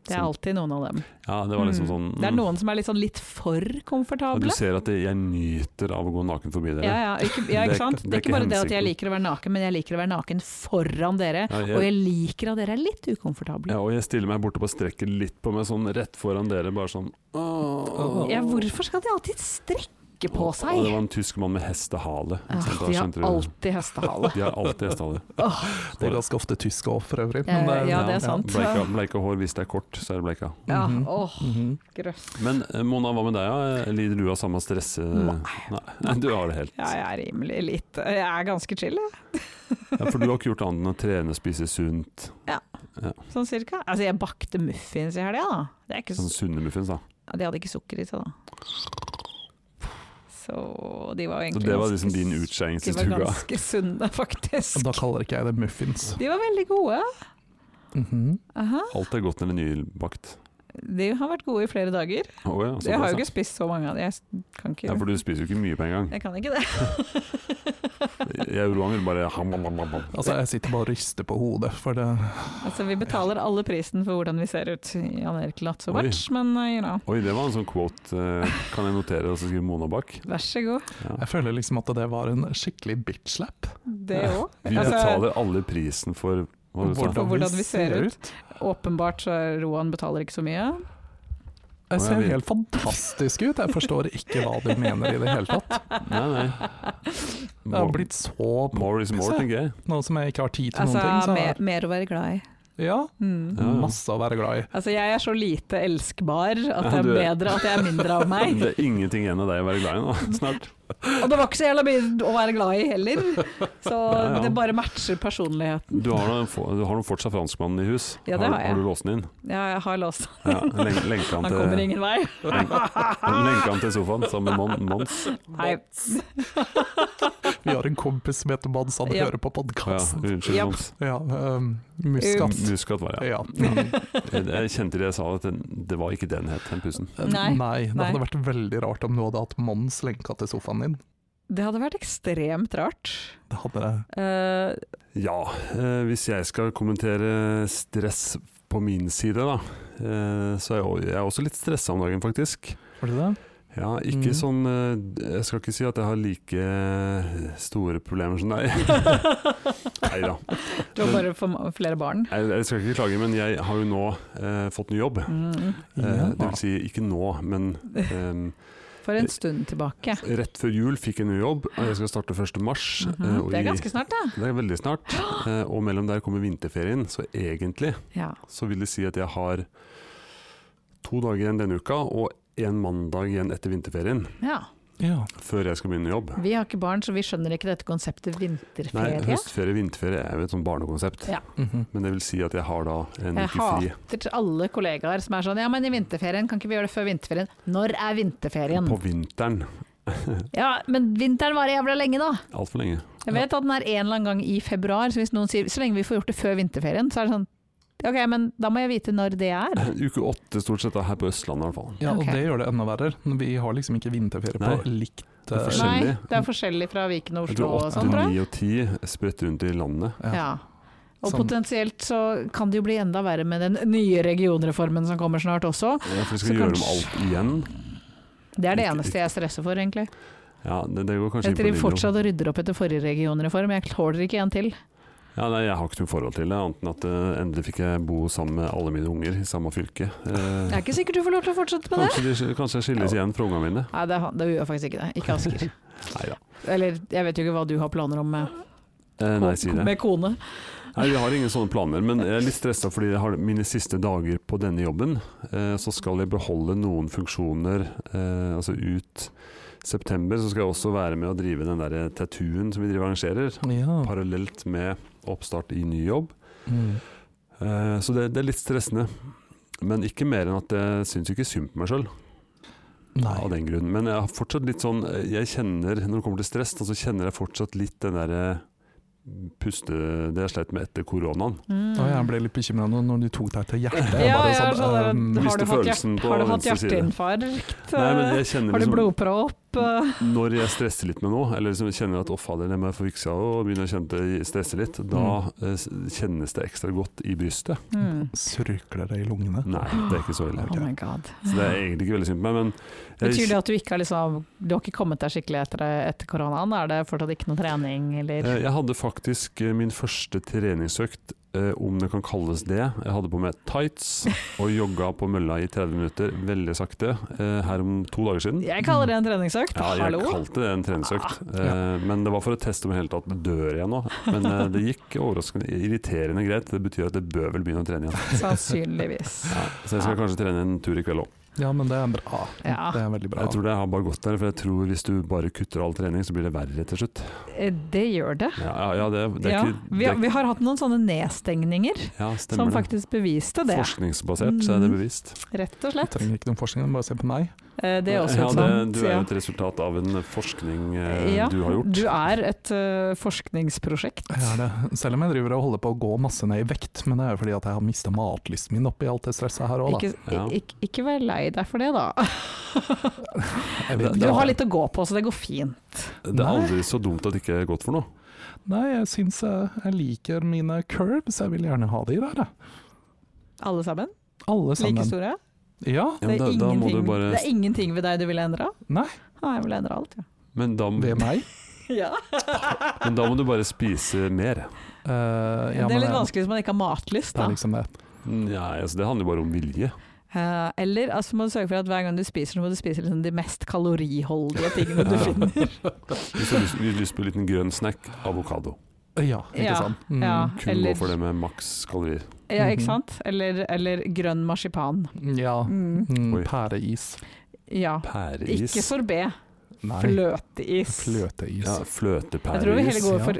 C: Det
B: Altså- Sånn.
C: er alltid noen av dem.
B: Ja, det var liksom
C: Mm.
B: sånn
C: Det er
B: mm.
C: noen som er litt sånn litt for
B: Og du
C: komfortable.
B: ser at det, jeg nyter av å gå naken forbi dere.
C: Ja, ja, ikke, ja,
B: Det er
C: ikke sant?
B: ikke- det er
C: Det er ikke
B: ikke
C: bare det at jeg
B: hensikten.
C: liker å være naken, men jeg liker å være naken foran dere.
B: Ja,
C: Og jeg liker at dere er litt ukomfortable.
B: Ja, og jeg stiller meg borte og bare strekker litt på meg sånn rett foran dere, bare sånn «Åh».
C: Ja, hvorfor skal de alltid strekke på
B: Og det
C: seg?
B: var en tysk mann med hestehale. ikke sant?
C: Ah,
B: Da
C: de har
B: skjønte du-
C: alltid
B: *laughs*
C: hestehale.
B: de har alltid
C: *laughs*
B: hestehale.
A: Det er ganske ofte tysk òg, for øvrig.
C: Eh, ja, det er sant.
B: Bleika, bleika hår, hvis det er kort, så er det bleika.
C: Ja,
A: Mhm.
C: åh,
A: Mhm.
C: grøss.
B: Men eh, Mona, hva med deg? Ja? Eh, Lider du av samme stresse?
C: Nei.
B: Nei, Du har det helt.
C: Ja, jeg er rimelig litt Jeg er ganske chill, jeg.
B: Ja, for du har ikke gjort annet enn å trene, spise sunt,
C: sånn cirka. Altså, jeg bakte muffins i helga, da. Det er ikke
B: sånn
C: så,
B: sunne muffins, da.
C: ja, de hadde ikke sukker i seg, da. Så de var jo
B: Så
C: egentlig
B: det var liksom
C: ganske-
B: din utskeiings
C: De
B: i
C: var
B: stua.
C: ganske sunne, faktisk.
A: Da kaller ikke jeg det muffins.
C: De var veldig gode.
A: Mhm.
C: Aha.
B: Alt er godt eller nybakt.
C: De har vært gode i flere dager.
B: Å ja,
C: Jeg har
B: såpass, ja.
C: jo ikke spist så mange av dem. Jeg s- kan ikke
B: Ja, for du spiser jo ikke mye på en gang.
C: Jeg kan ikke det.
B: Jeg og Roan vil bare ham, ham, ham, ham.
A: Altså, jeg sitter bare og rister på hodet, for det
C: Altså, vi betaler alle prisen for hvordan vi ser ut. Jan Erik latt så
B: Oi.
C: much, men uh, you know.
B: Oi, det var en sånn quote. eh, Kan jeg notere og så skrive Mona bak?
C: Vær så god.
A: Jeg føler liksom at det var en skikkelig bitch-slap.
C: Det òg.
B: Vi
C: Altså-
B: betaler alle prisen for hva du sa.
C: For hvordan vi ser ut. Åpenbart så er Roan betaler ikke så mye.
B: Å,
A: Jeg ser
B: jeg vil-
A: helt fantastisk ut, jeg forstår ikke hva du mener i det hele tatt.
B: Nei,
C: *laughs*
B: nei.
A: Det har
B: More-
A: blitt så
B: More is more, tenker jeg.
A: Nå som jeg ikke har tid til
C: Altså,
A: noen ting,
C: mer, mer å være glad i.
A: så ja,
C: Mm.
B: Ja.
A: masse å være glad i.
C: Altså, jeg er så lite elskbar at det
B: Ja,
C: er
B: du er-
C: bedre at jeg er mindre av
B: *laughs*
C: meg.
B: Det er ingenting igjen av deg å være glad i nå, *laughs* snart.
C: Og det var ikke så jævla mye å være glad i
B: *laughs*
C: heller. Så
B: Ja, ja.
C: det bare matcher personligheten.
B: Du har nå for- du har nå fortsatt franskmannen i hus.
C: Ja, det har jeg.
B: Har du låst den inn?
C: Ja, jeg har låst.
B: Ja, len- Lenka han
C: Han
B: til,
C: kommer ingen vei.
B: len- lenka han til sofaen sammen med Mon- Mons.
C: Nei.
A: Vi har en kompis som heter Mads, han
C: Ja.
A: hører på
B: Ja,
A: podkasten.
B: unnskyld,
C: Japp.
B: Mons.
A: Ja, øhm, Muskat.
B: Muskat var det, ja.
A: Ja. Mhm.
B: Jeg jeg kjente det jeg sa, at den- det var ikke det den het, den pusen.
C: Nei.
A: Nei, det
C: Nei.
A: hadde vært veldig rart om du hadde hatt Mons lenka til sofaen din.
C: *laughs* Det hadde vært ekstremt rart.
A: Det hadde det.
C: Eh,
B: Ja, eh, hvis jeg skal kommentere stress på min side, da, eh, så er jeg, o- jeg er også litt stressa om dagen, faktisk.
A: Var det det?
B: Ja, ikke
A: Mhm.
B: sånn eh, Jeg skal ikke si at jeg har like store problemer som deg. *laughs* Nei
C: *laughs*
B: da.
C: du har bare for ma- flere barn.
B: Jeg, jeg skal ikke klage, men jeg har jo nå eh, fått ny jobb.
C: Mm.
B: Eh, det
A: Ja.
B: vil si, ikke nå, men ehm,
C: For en stund tilbake.
B: rett før jul fikk jeg ny jobb. og Jeg skal starte 1. mars. eh,
C: Mhm.
B: og
C: Det er
B: i-
C: ganske snart, da.
B: det er veldig
C: *gasps*
B: snart. Eh, og mellom der kommer vinterferien, så egentlig
C: Ja.
B: så vil det si at jeg har to dager igjen denne uka, og en mandag igjen etter vinterferien,
C: ja.
A: ja.
B: før jeg skal begynne jobb.
C: Vi har ikke barn, så vi skjønner ikke dette konseptet
B: Nei,
C: vinterferie.
B: høstferie, vinterferie er jo et sånt barnekonsept.
C: Ja.
A: Mhm.
B: Men det vil si at jeg har da en
C: Jeg
B: uke fri.
C: hater til alle kollegaer som er sånn ja, men i vinterferien, kan ikke vi gjøre det før vinterferien? Når er vinterferien?
B: På vinteren.
C: Ja, men vinteren varer jævla lenge da.
B: Altfor lenge.
C: Jeg vet at den er en eller annen gang i februar, så hvis noen sier så lenge vi får gjort det før vinterferien, så er det sånn ok, men da må jeg vite når det er.
B: Uke åtte stort sett da, her på Østlandet i hvert fall.
A: ja, og
C: Ok.
A: det gjør det enda verre. Vi har liksom ikke vinterferie
B: Nei.
A: på likt
B: er
A: eh,
B: forskjellig.
C: Nei, det er forskjellig fra Viken og
B: Jeg
C: Oslo
B: tror
C: og
B: 8,
C: sånn, tror jeg.
B: 9 og 10 spredt rundt i landet.
A: ja.
C: Ja. Og
A: Sånn.
C: potensielt så kan det jo bli enda verre med den nye regionreformen som kommer snart også.
B: Ja, for de
C: Så
B: skal gjøre om
C: kanskje-
B: alt igjen.
C: Det er det
B: Ikke-
C: eneste jeg stresser for, egentlig.
B: Ja, det, det går kanskje
C: Jeg
B: inn på
C: driver
B: din
C: fortsatt og rydder opp etter forrige regionreform, jeg tåler ikke en til.
B: Ja, nei, jeg har ikke noe forhold til det, annet enn at eh, endelig fikk jeg bo sammen med alle mine unger i samme fylke. Eh,
C: Det er ikke sikkert du får lov til å fortsette med det.
B: kanskje, de, kanskje jeg skilles igjen fra ungene mine.
C: Nei, det, er- det gjør jeg faktisk ikke det. Ikke
B: *laughs*
C: Asker.
B: Nei da.
C: Eller jeg vet jo ikke hva du har planer om med,
B: Eh, nei, si det.
C: med kone.
B: Nei, Vi har ingen sånne planer, men jeg er litt stressa fordi jeg har mine siste dager på denne jobben. Eh, så skal jeg beholde noen funksjoner eh, altså ut september. Så skal jeg også være med å drive den der tattooen som vi driver og arrangerer,
A: Ja.
B: parallelt med oppstart i ny jobb.
A: Mm.
B: Eh, Så det, det er litt stressende. Men ikke mer enn at jeg syns ikke synd på meg sjøl av
A: Nei.
B: den grunn. Men jeg har fortsatt litt sånn eh, Jeg kjenner, når det kommer til stress, da, så kjenner jeg fortsatt litt den derre puste Det jeg sleit med etter koronaen.
C: Mm.
A: Og jeg ble litt bekymra når du tok deg til hjertet. Jeg
C: ja,
A: bare
C: ja,
A: sånn,
C: sånn der,
A: øhm,
B: hvis det
C: har, du hatt
B: um, følelsen
C: hjert,
B: på
C: har du hatt
B: venstre side.
C: hjerteinfarkt?
B: Nei, men jeg kjenner
C: har du
B: liksom Mm.
C: blodpropp?
B: Når jeg stresser litt med noe, eller liksom kjenner at 'å, fader, det må jeg få fiksa', og begynner å kjenne det stresse litt, da eh, s- kjennes det ekstra godt i brystet.
C: Mm.
A: Surkler det i lungene?
B: Nei, det er ikke så ille.
C: Oh my god.
B: Så det er egentlig ikke veldig synd på meg, men jeg-
C: Betyr det at du ikke har, liksom, du har ikke kommet deg skikkelig etter, etter koronaen? Er det fortsatt ikke noe trening, eller?
B: Eh, Jeg hadde faktisk eh, min første treningsøkt, eh, om det kan kalles det. Jeg hadde på meg tights og jogga på mølla i 30 minutter, veldig sakte, eh, her om to dager siden.
C: Jeg kaller det en treningsøkt.
B: Ja, jeg
C: Hallo? Ah,
B: kalte det en treningsøkt, eh, men det var for å teste om i hele tatt dør jeg nå. Men eh, det gikk overraskende irriterende greit. Det betyr at jeg bør vel begynne å trene igjen.
C: Sannsynligvis.
B: Ja, så jeg skal kanskje trene en tur i kveld òg.
A: Ja, men det er bra.
C: Ja.
A: Det er veldig bra.
B: Jeg tror det har bare gått der, for jeg tror hvis du bare kutter all trening, så blir det verre til slutt.
C: Eh, Det gjør det.
B: Ja, ja, ja det, det er
C: ja.
B: ikke
C: vi,
B: det,
C: har, vi har hatt noen sånne nedstengninger
B: Ja,
C: som
B: stemmer det.
C: faktisk beviste det, Mm.
B: Forskningsbasert, så er det bevisst.
C: rett og slett.
A: trenger ikke noen forskning, bare se på meg.
C: Eh, Det er også
B: ja,
C: et
B: det,
C: sånt.
B: du er
C: ja.
B: jo et resultat av en forskning eh,
C: Ja,
B: du har gjort.
C: Du er et eh, forskningsprosjekt.
A: Jeg er det. Selv om jeg driver og holder på å gå masse ned i vekt, men det er jo fordi at jeg har mista matlysten min oppi alt det stresset her òg, da.
C: Ikke,
B: Ja.
C: ikke, ikke vær lei deg for det,
A: *laughs*
C: da.
A: Jeg vet
C: Du
A: ikke.
C: har litt å gå på, så det går fint.
B: Det er aldri så dumt at det ikke er godt for noe.
A: Nei, jeg syns jeg, jeg liker mine curves, jeg vil gjerne ha de der, jeg.
C: Alle sammen?
A: Alle
C: Like
A: sammen.
C: store?
A: Ja,
B: Ja, men
C: det,
B: da,
C: er
B: da må du
C: ingenting- det
B: bare
C: er ingenting ved deg du ville endre?
A: Nei.
C: Ja, jeg vil endre alt, ja.
B: men da,
A: ved meg.
C: ja.
B: men da må du bare spise mer.
A: Eh,
C: det
A: ja,
C: er
A: men
C: litt
A: jeg-
C: vanskelig hvis man ikke har matlyst,
A: Det er
C: da.
A: liksom det.
B: Nei, altså, det handler jo bare om vilje.
C: Eh, eller altså, må du sørge for at hver gang du spiser, så må du spise liksom de mest kaloriholdige tingene
B: Ja.
C: du
A: *laughs*
C: finner.
B: Hvis du har lyst, hvis du har lyst på en liten grønn snack, avokado.
A: Ja, ikke
C: Ja,
A: sant. Mm.
C: Ja,
B: Kun
C: eller,
B: gå for det med maks kalorier.
C: ja, ikke sant? Eller, eller grønn marsipan.
A: Mhm. ja.
C: Mm.
A: Mm,
B: Oi.
A: pæreis.
C: Ja. Ikke
B: Pæreis.
C: sorbé,
A: Nei,
C: fløteis.
A: fløteis.
B: Ja,
C: Jeg tror vi heller
B: Fløtepæreis.
A: går
C: går
A: ja. for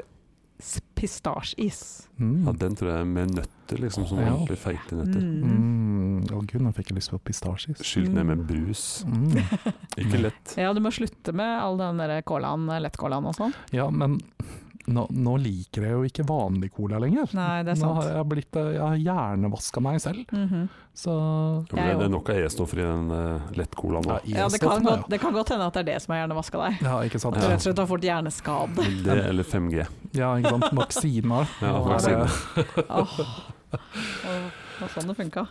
C: for pistasjeis.
B: Ja,
A: Mm.
B: den tror jeg er med nøtter, liksom. Sånn
A: Ja.
B: ordentlig feite nøtter.
A: Mm. Å gud, nå fikk jeg lyst på
C: Mm.
A: pistasjis.
B: Skylt ned med brus.
A: Mm.
B: Ikke lett.
C: Ja, du må slutte med all den der colaen, lettkålaen og sånn.
A: Ja, men nå, nå liker jeg jo ikke vanlig cola lenger.
C: Nei, det er
A: Nå har
C: sant.
A: jeg, blitt, eh, jeg har hjernevaska meg selv,
C: Mhm.
A: så
B: Ja, men
C: Jeg
B: det,
C: jo.
B: det er nok av E-stoffer i den uh, lettcolaen nå.
C: Ja, det kan,
A: E-stoffene,
C: godt, det kan godt hende at det er det som har hjernevaska deg.
A: Ja, ikke sant.
C: At du rett og slett har fått
A: *laughs*
C: hjerneskade.
B: Det eller 5G.
A: Ja, ikke sant. Vaksiner.
B: *laughs* Ja,
A: Nå er
B: vaksiner.
A: det-
C: Åh. Og- og sånn det funka.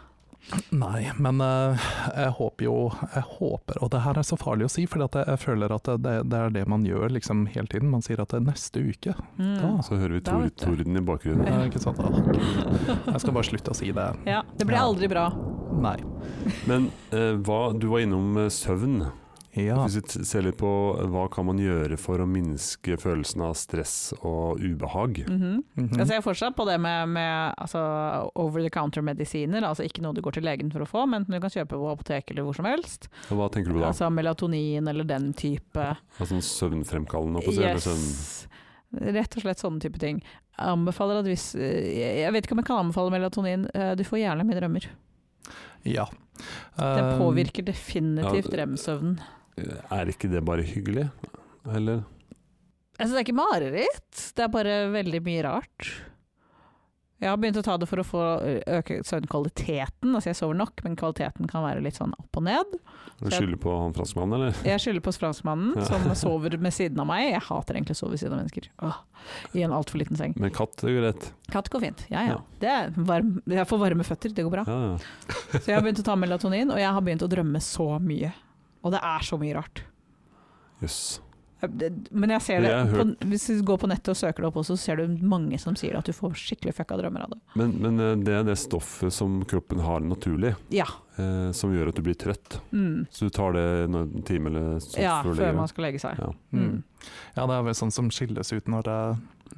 A: Nei, men eh, jeg håper jo Jeg håper, og det her er så farlig å si, for jeg, jeg føler at det- det, det er det man gjør liksom hele tiden. Man sier at det er neste uke.
C: Mm.
A: Da.
B: Så hører vi
C: Da
B: tor
C: vet du.
B: torden i bakgrunnen.
A: Ja, ikke sant. Å, gud. Jeg skal bare slutte å si det.
C: Ja, det blir
A: Ja.
C: aldri bra.
A: Nei.
B: Men eh, hva, du var innom eh, søvn.
A: Ja.
B: Hvis vi t- ser litt på eh, hva kan man gjøre for å minske følelsen av stress og ubehag.
C: Mhm.
A: Mhm.
C: Jeg ser fortsatt på det med, med altså, over the counter-medisiner, altså ikke noe du går til legen for å få, men du kan kjøpe på apotek eller hvor som helst.
B: Og hva tenker du på da?
C: Altså melatonin eller den type.
B: Altså en søvnfremkallende? holdt på å si, eller søvn-
C: Yes. Rett og slett sånne type ting. Jeg anbefaler at hvis eh, Jeg vet ikke om jeg kan anbefale melatonin. eh, Du får gjerne mye drømmer.
A: ja.
C: Det
A: Eh,
C: påvirker definitivt
B: ja,
C: REM-søvnen.
B: Er ikke det bare hyggelig? Eller?
C: Jeg synes det er ikke mareritt, det er bare veldig mye rart. Jeg har begynt å ta det for å få eh, øke søvnkvaliteten. Altså jeg sover nok, men kvaliteten kan være litt sånn opp og ned.
B: Du skylder på han franskmannen, eller?
C: Jeg skylder på franskmannen
B: *laughs* Ja.
C: som sover med siden av meg. Jeg hater egentlig å sove ved siden av mennesker. Åh, I en altfor liten seng.
B: Men katt er jo greit.
C: Katt går fint. Ja ja.
B: Ja.
C: Det er varm. Jeg får varme føtter, det går bra.
B: Ja, ja.
C: Så jeg har begynt å ta melatonin, og jeg har begynt å drømme så mye. Og det er så mye rart. Eh,
B: Jøss.
C: Det- Men jeg ser det,
B: Jeg har
C: på, hvis du går på nettet og søker det opp også, så ser du mange som sier at du får skikkelig fucka drømmer av det.
B: Men, men eh, det er det stoffet som kroppen har naturlig,
C: Ja.
B: eh, som gjør at du blir trøtt.
C: Mm.
B: Så du tar det når- en time eller sånn
C: Ja,
B: før du
C: før
B: legger
C: man
B: deg.
C: skal legge seg.
B: Ja.
C: Mm.
A: Eh, ja, det er vel sånn som skilles ut når det,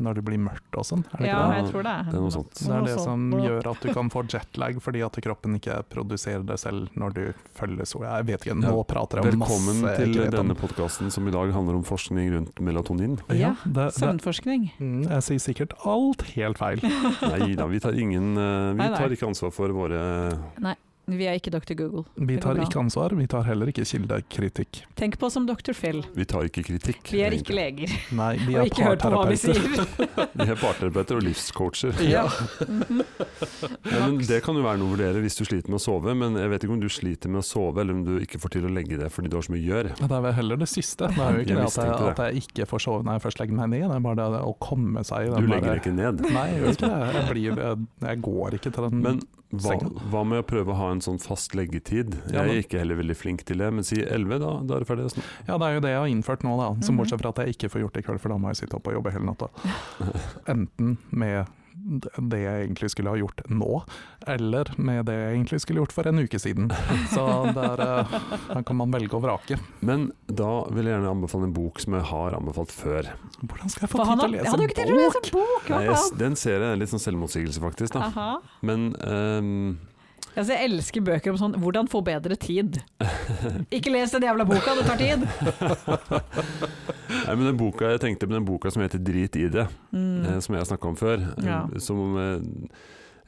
A: når det blir mørkt og sånn. Er det
C: Ja,
A: ikke det?
B: det?
C: jeg tror det er
B: Det er noe sånt.
A: Så det er det
C: sånt.
A: som gjør at du kan få jetlag, fordi at kroppen ikke produserer det selv når du følger sola. Jeg vet ikke, nå
B: Ja.
A: prater jeg om
B: Velkommen
A: masse jeg
B: til
A: ikke vet om.
B: denne podkasten som i dag handler om forskning rundt melatonin.
A: Ja,
C: Ja,
A: det, det,
C: Søvnforskning. *laughs*
A: mm, jeg sier sikkert alt helt feil.
B: Nei da, vi tar ingen eh, Vi
C: Nei, nei.
B: tar ikke ansvar for våre
C: Vi er ikke Dr. Google.
A: Vi
C: Det går
A: tar
C: bra.
A: ikke ansvar, vi tar heller ikke kildekritikk.
C: Tenk på oss som Dr. Phil.
B: Vi tar ikke kritikk.
C: Vi er ikke leger,
A: Nei, vi
C: og
A: er
C: ikke hør på hva vi
A: parterapeuter. *laughs*
C: sier.
B: Vi er parterapeuter og livscoacher.
A: Ja.
B: *laughs* Ja, men det kan jo være noe å vurdere hvis du sliter med å sove, men jeg vet ikke om du sliter med å sove, eller om du ikke får til å legge det fordi du har så mye gjør.
A: Men Det er vel heller det siste. Det er jo ikke
B: Jeg
A: det at jeg,
B: mistenkte det.
A: at jeg ikke får sove når jeg først legger meg ned, det er bare det å komme seg i den
B: Du legger det ikke ned.
A: Nei, jeg gjør ikke det. Jeg, blir, jeg, jeg går ikke til den
B: Men hva,
A: Sengen.
B: hva med å prøve å ha en sånn fast leggetid? Jeg
A: Ja, men-
B: er ikke heller veldig flink til det, men si 11, da, da er det ferdig. å sn-
A: Ja, det er jo det jeg har innført nå, da. Som
C: Mhm.
A: bortsett fra at jeg ikke får gjort det i kveld, for da må jeg sitte oppe og jobbe hele
C: *laughs*
A: natta. Enten med d- det jeg egentlig skulle ha gjort nå, eller med det jeg egentlig skulle gjort for en uke siden. Så der, eh, der kan man velge og vrake.
B: Men da vil jeg gjerne anbefale en bok som jeg har anbefalt før.
A: Hvordan skal jeg
C: For
A: få
C: han
A: tid
C: har,
A: til å
C: jeg hadde jo ikke
A: lese
C: tid
A: en
C: til å
A: bok?
C: lese en bok! Hva Ah.
B: Nei, jeg, s-
C: faen?
B: den serien er litt sånn selvmotsigelse, faktisk. da.
C: Aha.
B: Men ehm,
C: Altså, jeg elsker bøker om sånn 'hvordan få bedre tid'. Ikke les den jævla boka, det tar tid!
B: Nei, men den boka jeg tenkte på, den boka som heter 'Drit i det',
C: Mm.
B: eh, som jeg har snakka om før, eh,
C: Ja.
B: som eh,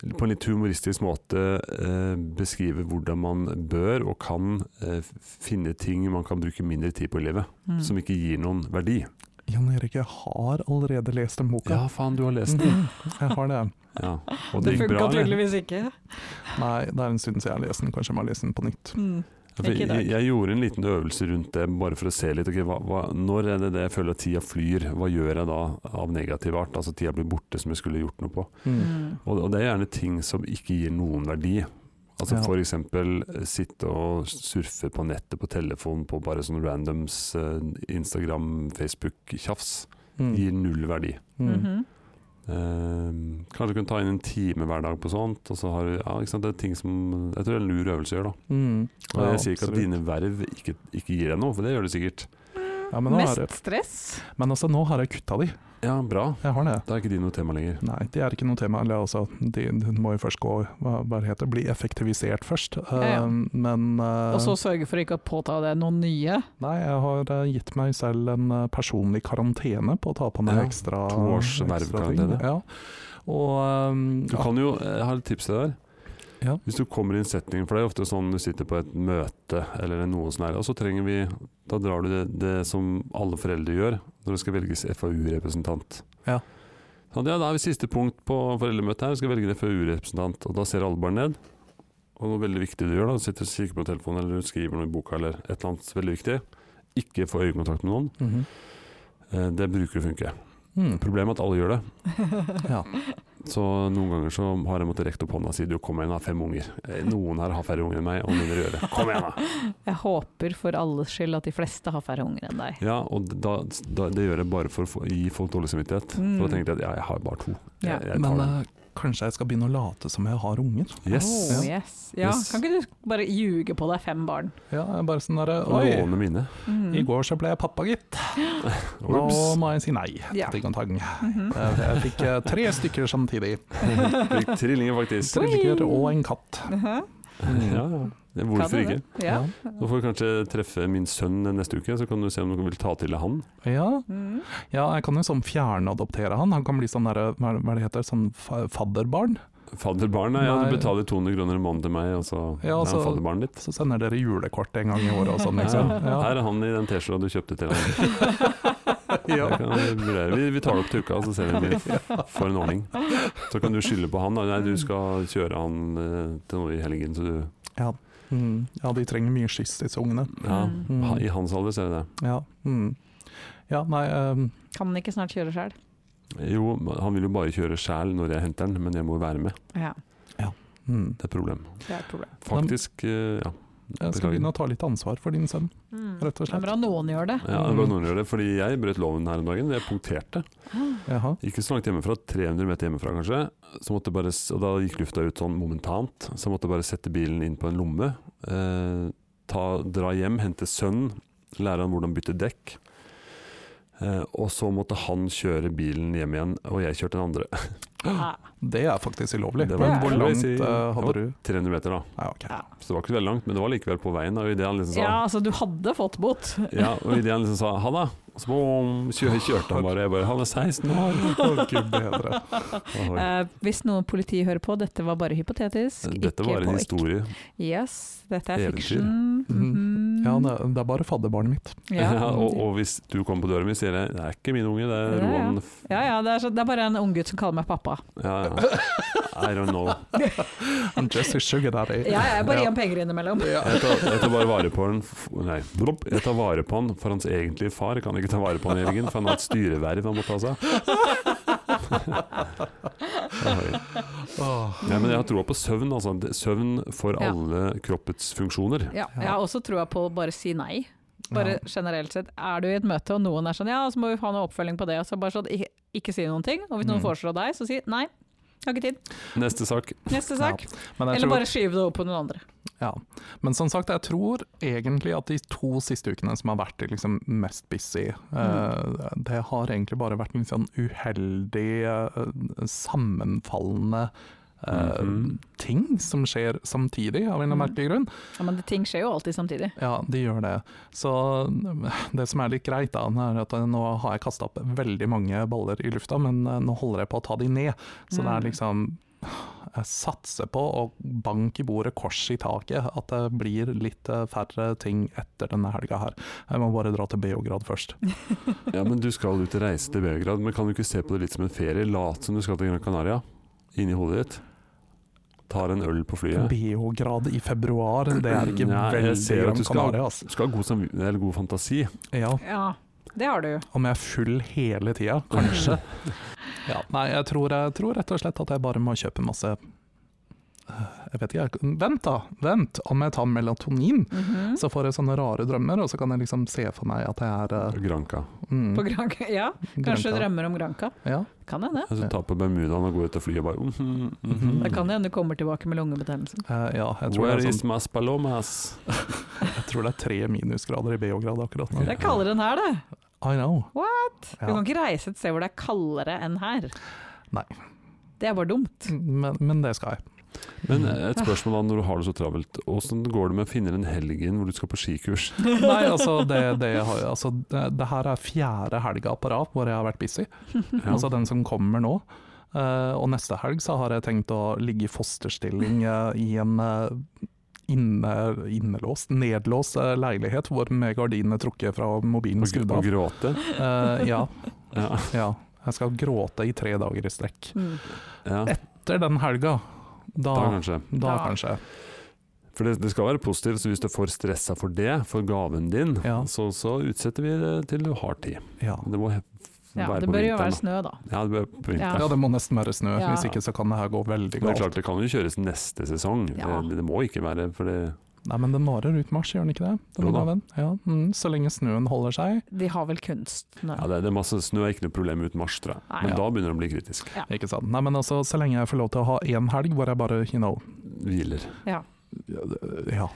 B: på en litt humoristisk måte eh, beskrive hvordan man bør og kan eh, finne ting man kan bruke mindre tid på i livet,
C: Mm.
B: som ikke gir noen verdi.
A: Jan Erik, jeg har allerede lest den boka.
B: Ja, faen, du har
C: *laughs*
B: lest den.
A: Mm, jeg har det.
B: Ja. Og
C: det
B: det gikk
C: funka
B: bra, eller?
C: tydeligvis ikke.
A: Nei, det er en stund siden jeg har lest den. Kanskje jeg må lese den på nytt.
C: Mm.
B: Ja, for
C: Ikke i dag.
B: Jeg, jeg gjorde en liten øvelse rundt det, bare for å se litt. ok, hva, hva, når er det det jeg føler at tida flyr? Hva gjør jeg da av negativ art? Altså tida blir borte som jeg skulle gjort noe på.
A: Mm.
C: Mm.
B: Og, og det er gjerne ting som ikke gir noen verdi. Altså
A: Ja.
B: for eksempel eh, sitte og surfe på nettet på telefonen på bare sånn randoms eh, Instagram, Facebook-tjafs.
A: Mm.
B: Gir null verdi.
A: Mm.
C: Mhm.
B: Eh, kanskje du kan ta inn en time hver dag på sånt, og så har du ja, ikke sant, det er ting som Jeg tror det er en lur øvelse å gjøre, da.
A: Mm.
B: Og
A: Ja,
B: jeg sier ikke at
A: absolutt.
B: dine verv ikke, ikke gir deg noe, for det gjør det sikkert.
A: Ja, men, nå har
C: Mest
A: jeg,
C: stress.
A: men altså, nå har jeg kutta de.
B: Ja, bra.
A: Jeg har det.
B: Da er ikke de noe tema lenger.
A: Nei, det er ikke noe tema. Eller altså, de, de må jo først gå hva, hva det heter, bli effektivisert først.
C: ja.
A: Eh, men eh,
C: Og så sørge for ikke å påta deg noen nye.
A: Nei, jeg har eh, gitt meg selv en eh, personlig karantene på å ta på meg
B: Ja,
A: ekstra
B: to års
A: ekstra ting.
B: vervekarantene.
A: Ja. Og eh,
B: Du kan jo, Jeg har et tips til deg der.
A: Ja.
B: Hvis du kommer i en setting, for det er ofte sånn du sitter på et møte eller noe sånt, her, og så trenger vi Da drar du det, det som alle foreldre gjør når det skal velges FAU-representant.
A: Ja.
B: Sånn, ja, Da er vi siste punkt på foreldremøtet her, vi skal velge en FAU-representant. Og da ser alle bare ned. Og noe veldig viktig du gjør, da, du sitter og kikker på telefonen eller du skriver noe i boka eller et eller annet veldig viktig, ikke få øyekontakt med noen.
A: mhm.
B: Eh, Det bruker å funke.
A: Mm.
B: Problemet er at alle gjør det.
A: Ja.
B: Så noen ganger så har jeg måttet rekke opp hånda og si du kom igjen, da, fem unger. Eh, Noen her har færre unger enn meg, og mindre å
A: *laughs*
B: gjøre. Kom igjen, da!
C: Jeg håper for alles skyld at de fleste har færre unger enn deg.
B: Ja, og da, da, det gjør jeg bare for å få- gi folk dårlig samvittighet.
C: Mm.
B: For da tenker jeg at ja, jeg har bare to. Jeg,
C: Ja.
B: jeg tar
A: Men
B: den.
A: eh, kanskje jeg skal begynne å late som jeg har unger?
B: Yes!
C: Oh, yes. Ja,
B: Yes.
C: Kan ikke du bare ljuge på deg fem barn?
A: Ja, jeg er bare sånn derre Oi,
B: Låne mine.
C: Mm.
A: i går så ble jeg pappa, gitt. Nå
B: Ops!
A: må jeg si nei.
C: Ja.
A: Ting og tang.
C: Mhm.
A: Jeg, jeg fikk eh, tre stykker samtidig.
B: Fikk trillinger,
A: *laughs*
B: faktisk.
A: Trillinger og en katt. Mm.
B: Ja, ja. Hvorfor
C: Kan
B: ikke?
C: det det? Ja.
B: Nå får vi kanskje treffe min sønn neste uke, så kan du se om noen vil ta til deg han.
A: Ja,
C: Mm.
A: ja jeg kan jo sånn fjernadoptere han. Han kan bli sånn derre, hva hva det heter, sånn fa- fadderbarn.
B: Fadderbarn, nei, ja,
A: Nei.
B: du betaler 200 kroner i måneden til meg, og så
A: Ja,
B: er
A: altså-
B: han fadderbarnet ditt.
A: Så sender dere julekort en gang i året og sånn, liksom.
B: Ja,
A: Ja.
B: Her er han i den T-skjorta du kjøpte til han. *laughs*
A: Ja.
B: Det kan vi vurdere. Vi, vi tar det opp til uka, så ser vi om vi får en ordning. Så kan du skylde på han. Da. Nei, du skal kjøre han eh, til noe i helgen, så du
A: Mm. ja, de trenger mye skyss, disse ungene.
B: Ja,
A: Mm.
B: ha- i hans alder ser jeg det.
A: Ja, mm. ja nei ehm,
C: Kan den ikke snart kjøre sjøl?
B: Jo, han vil jo bare kjøre sjæl når jeg henter han, men jeg må jo være med.
C: Ja,
A: mm.
B: Det er et problem.
C: det er et problem.
B: Faktisk, eh, ja.
A: Jeg skal
B: Beklager.
A: begynne å ta litt ansvar for din sønn, rett og
C: Det er
A: slett.
C: bra noen gjør det.
B: Ja, det var noen som gjør det, fordi jeg brøt loven her om dagen. Jeg punkterte.
A: Jaha.
B: Ikke så langt hjemmefra, 300 meter hjemmefra kanskje. Så måtte jeg bare, s- og da gikk lufta ut sånn momentant, så jeg måtte bare sette bilen inn på en lomme. Eh, ta, dra hjem, hente sønnen, lære han hvordan bytte dekk. Eh, og så måtte han kjøre bilen hjem igjen, og jeg kjørte den andre. *laughs*
C: Ja.
A: Det er faktisk ulovlig.
B: Det var
A: Men hvor
B: ulovlig,
A: langt
B: sier-
A: eh, hadde du?
B: 300 meter, da.
A: Nei, ok.
B: Så det var ikke så veldig langt, men det var likevel på veien. da, Og idet han liksom sa
C: ja, altså du hadde fått bot.
B: ja, og i det han liksom sa ha det, så boom, kjø- kjørte han bare. Jeg bare han er 16 år!
A: Å, Gud bedre.
B: Ahoy.
C: Eh, hvis noen politi hører på, dette var bare hypotetisk.
B: Dette var en
C: på ek-
B: historie.
C: Yes, dette er
B: Eventyr.
C: fiction. Mhm.
A: Ja, det, det er bare fadderbarnet mitt.
B: Ja,
C: Ja.
B: *laughs* og, og hvis du kommer på døra mi, sier jeg det er ikke min unge, det er
C: Det er
B: Roan.
C: ja, ja, det, er så, det er bare en unggutt som kaller meg pappa.
B: Ja, ja. I don't know.
A: I'm just a sugar daddy.
C: Ja, jeg bare gir ham penger innimellom.
B: Jeg tar, jeg tar bare vare på han f- Nei, blopp. jeg tar vare på han for hans egentlige far. Jeg kan ikke ta vare på han i helgen, for han har et styreverv han må ta seg *laughs* av.
A: Åh.
B: Nei, men jeg har troa på søvn. Altså. Det- Søvn for
C: Ja.
B: alle kroppets funksjoner.
C: Ja, jeg har også troa på å bare si nei. Bare
A: Ja.
C: generelt sett. Er du i et møte og noen er sånn ja, så må vi ha noe oppfølging på det. Og så bare sånn, ikke, ikke si noen ting. Og hvis noen
A: Mm.
C: foreslår deg, så si nei. Har ikke tid.
B: Neste sak.
C: Neste sak.
A: Men, jeg
C: Eller
A: tror,
C: bare skyve det over på noen andre.
A: ja. Men som sagt, jeg tror egentlig at de to siste ukene som har vært liksom mest busy, eh, det har egentlig bare vært litt sånn uheldig, eh, sammenfallende eh,
B: Mhm.
A: ting som skjer samtidig, av en eller annen
C: Mm.
A: merkelig grunn.
C: Ja, men det- ting skjer jo alltid samtidig.
A: Ja, de gjør det. Så mm, det som er litt greit, da, er at nå eh, har jeg kasta opp veldig mange baller i lufta, men eh, nå holder jeg på å ta de ned. Så det er
C: Mm.
A: liksom Jeg satser på å banke i bordet, kors i taket, at det blir litt eh, færre ting etter denne helga her. Jeg må bare dra til Beograd først.
B: Ja, men du skal ut og reise til Beograd, men kan du ikke se på det litt som en ferie? Lat som du skal til Gran Canaria, inni hodet ditt. Tar en øl på flyet.
A: Beograd i februar, det er ikke
B: Ja, jeg
A: veldig
B: ser at
A: Gran
B: du skal-
A: Canaria, altså.
B: Du skal ha god, samvi- eller god fantasi.
A: Ja,
C: Ja, det har du.
A: om jeg er full hele tida,
C: *laughs*
A: kanskje. Ja, nei, jeg tror, jeg tror rett og slett at jeg bare må kjøpe masse eh, jeg vet ikke, Vent, da! Vent! Om jeg tar melatonin,
C: Mhm.
A: så får jeg sånne rare drømmer, og så kan jeg liksom se for meg at jeg er eh,
B: Granca.
A: mm,
C: På Granca. Ja, kanskje
A: grønntar.
C: drømmer om Granca.
A: Ja.
C: Kan hende.
B: Altså, ta på Bermudaen og gå ut og fly og bare mhm,
A: Mhm.
C: Det
B: mhm.
C: kan hende du kommer tilbake med lungebetennelse.
A: Eh, ja, jeg tror,
B: Where
A: det er
B: is
A: sånn,
B: mas palomas?
A: jeg tror det er tre minusgrader i Beograd akkurat nå.
C: Det er kaldere enn her, det.
A: I know.
C: Du
A: Ja.
C: kan ikke reise et sted hvor det er kaldere enn her.
A: Nei.
C: Det er bare dumt.
A: Men, men det skal jeg.
B: Men eh, et spørsmål da, når du har det så travelt. Åssen går det med å finne en helgen hvor du skal på
A: *laughs*
B: skikurs?
A: *laughs* Nei, altså, det, det, har jeg- altså, det, det her er fjerde helga på rad hvor jeg har vært busy.
B: Ja.
A: Altså den som kommer nå. Eh, og neste helg så har jeg tenkt å ligge i fosterstilling eh, i en eh, inne, innelåst, nedlåst eh, leilighet hvor med gardinene trukket fra mobilen
B: Og,
A: skrudd
B: og
A: av.
B: gråte?
A: Eh, ja,
B: Ja.
A: ja. Jeg skal gråte i tre dager i strekk.
C: Mm. *laughs*
B: ja.
A: Etter den helga, da,
B: Da kanskje.
A: da,
C: Da.
A: kanskje.
B: For det, det skal være positivt, så hvis du er for stressa for det, for gaven din,
A: Ja.
B: så, så utsetter vi det til du har tid.
A: Ja.
B: Men Det må he-
C: Ja,
B: være
C: det
B: på
C: bør jo være
B: vinteren. da.
C: snø, da.
B: Ja, det bør på vinteren.
A: ja, det må nesten være snø,
C: Ja.
A: hvis ikke så kan det her gå
B: Men det er
A: veldig galt.
B: klart, det kan jo kjøres neste sesong.
C: Ja.
B: Det, det må ikke være for det
A: Nei, men den varer ut mars, gjør den ikke det? Den
B: Jo da.
A: dagen? Ja. Mm, så lenge snøen holder seg.
C: De har vel kunst nå.
B: ja, det, det er masse snø er ikke noe problem ut mars, tror jeg.
C: Nei.
B: Men
C: Ja.
B: da begynner det å bli kritisk.
A: Ikke sant? Nei, men altså, så lenge jeg får lov til å ha én helg hvor jeg bare, you know,
B: Hviler.
C: Ja.
A: Ja, det- ja.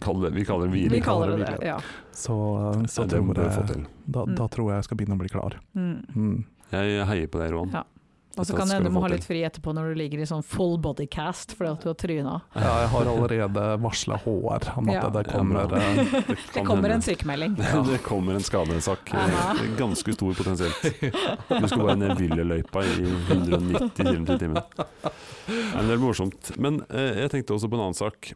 B: Kall det- vi kaller det
C: Vi
B: hviling.
C: kaller det
A: kaller det
C: det. Ja.
A: Så, så
B: Ja, det må
A: tror
B: du få
A: jeg,
B: til.
A: da,
C: Mm.
A: da tror jeg jeg skal begynne å bli klar.
C: Mm.
A: Mm.
B: Jeg heier på deg, Roan.
C: Ja. Og så
B: Dette
C: kan det
B: skal
C: hende
B: du
C: du må
B: få
C: ha
B: til.
C: litt fri etterpå når du ligger i sånn full bodycast fordi at du har tryna.
A: Ja, jeg har allerede varsla HR om at
C: Ja.
A: det kommer
B: Ja,
A: eh,
C: *laughs* Det kommer
B: *laughs*
C: en sykemelding.
B: Det kommer en skadesak.
C: Aha.
B: eh, Ganske stor potensielt. Du skal bare ned Villeløypa i 190 km i timen. Nei, men Det er morsomt. Men eh, jeg tenkte også på en annen sak.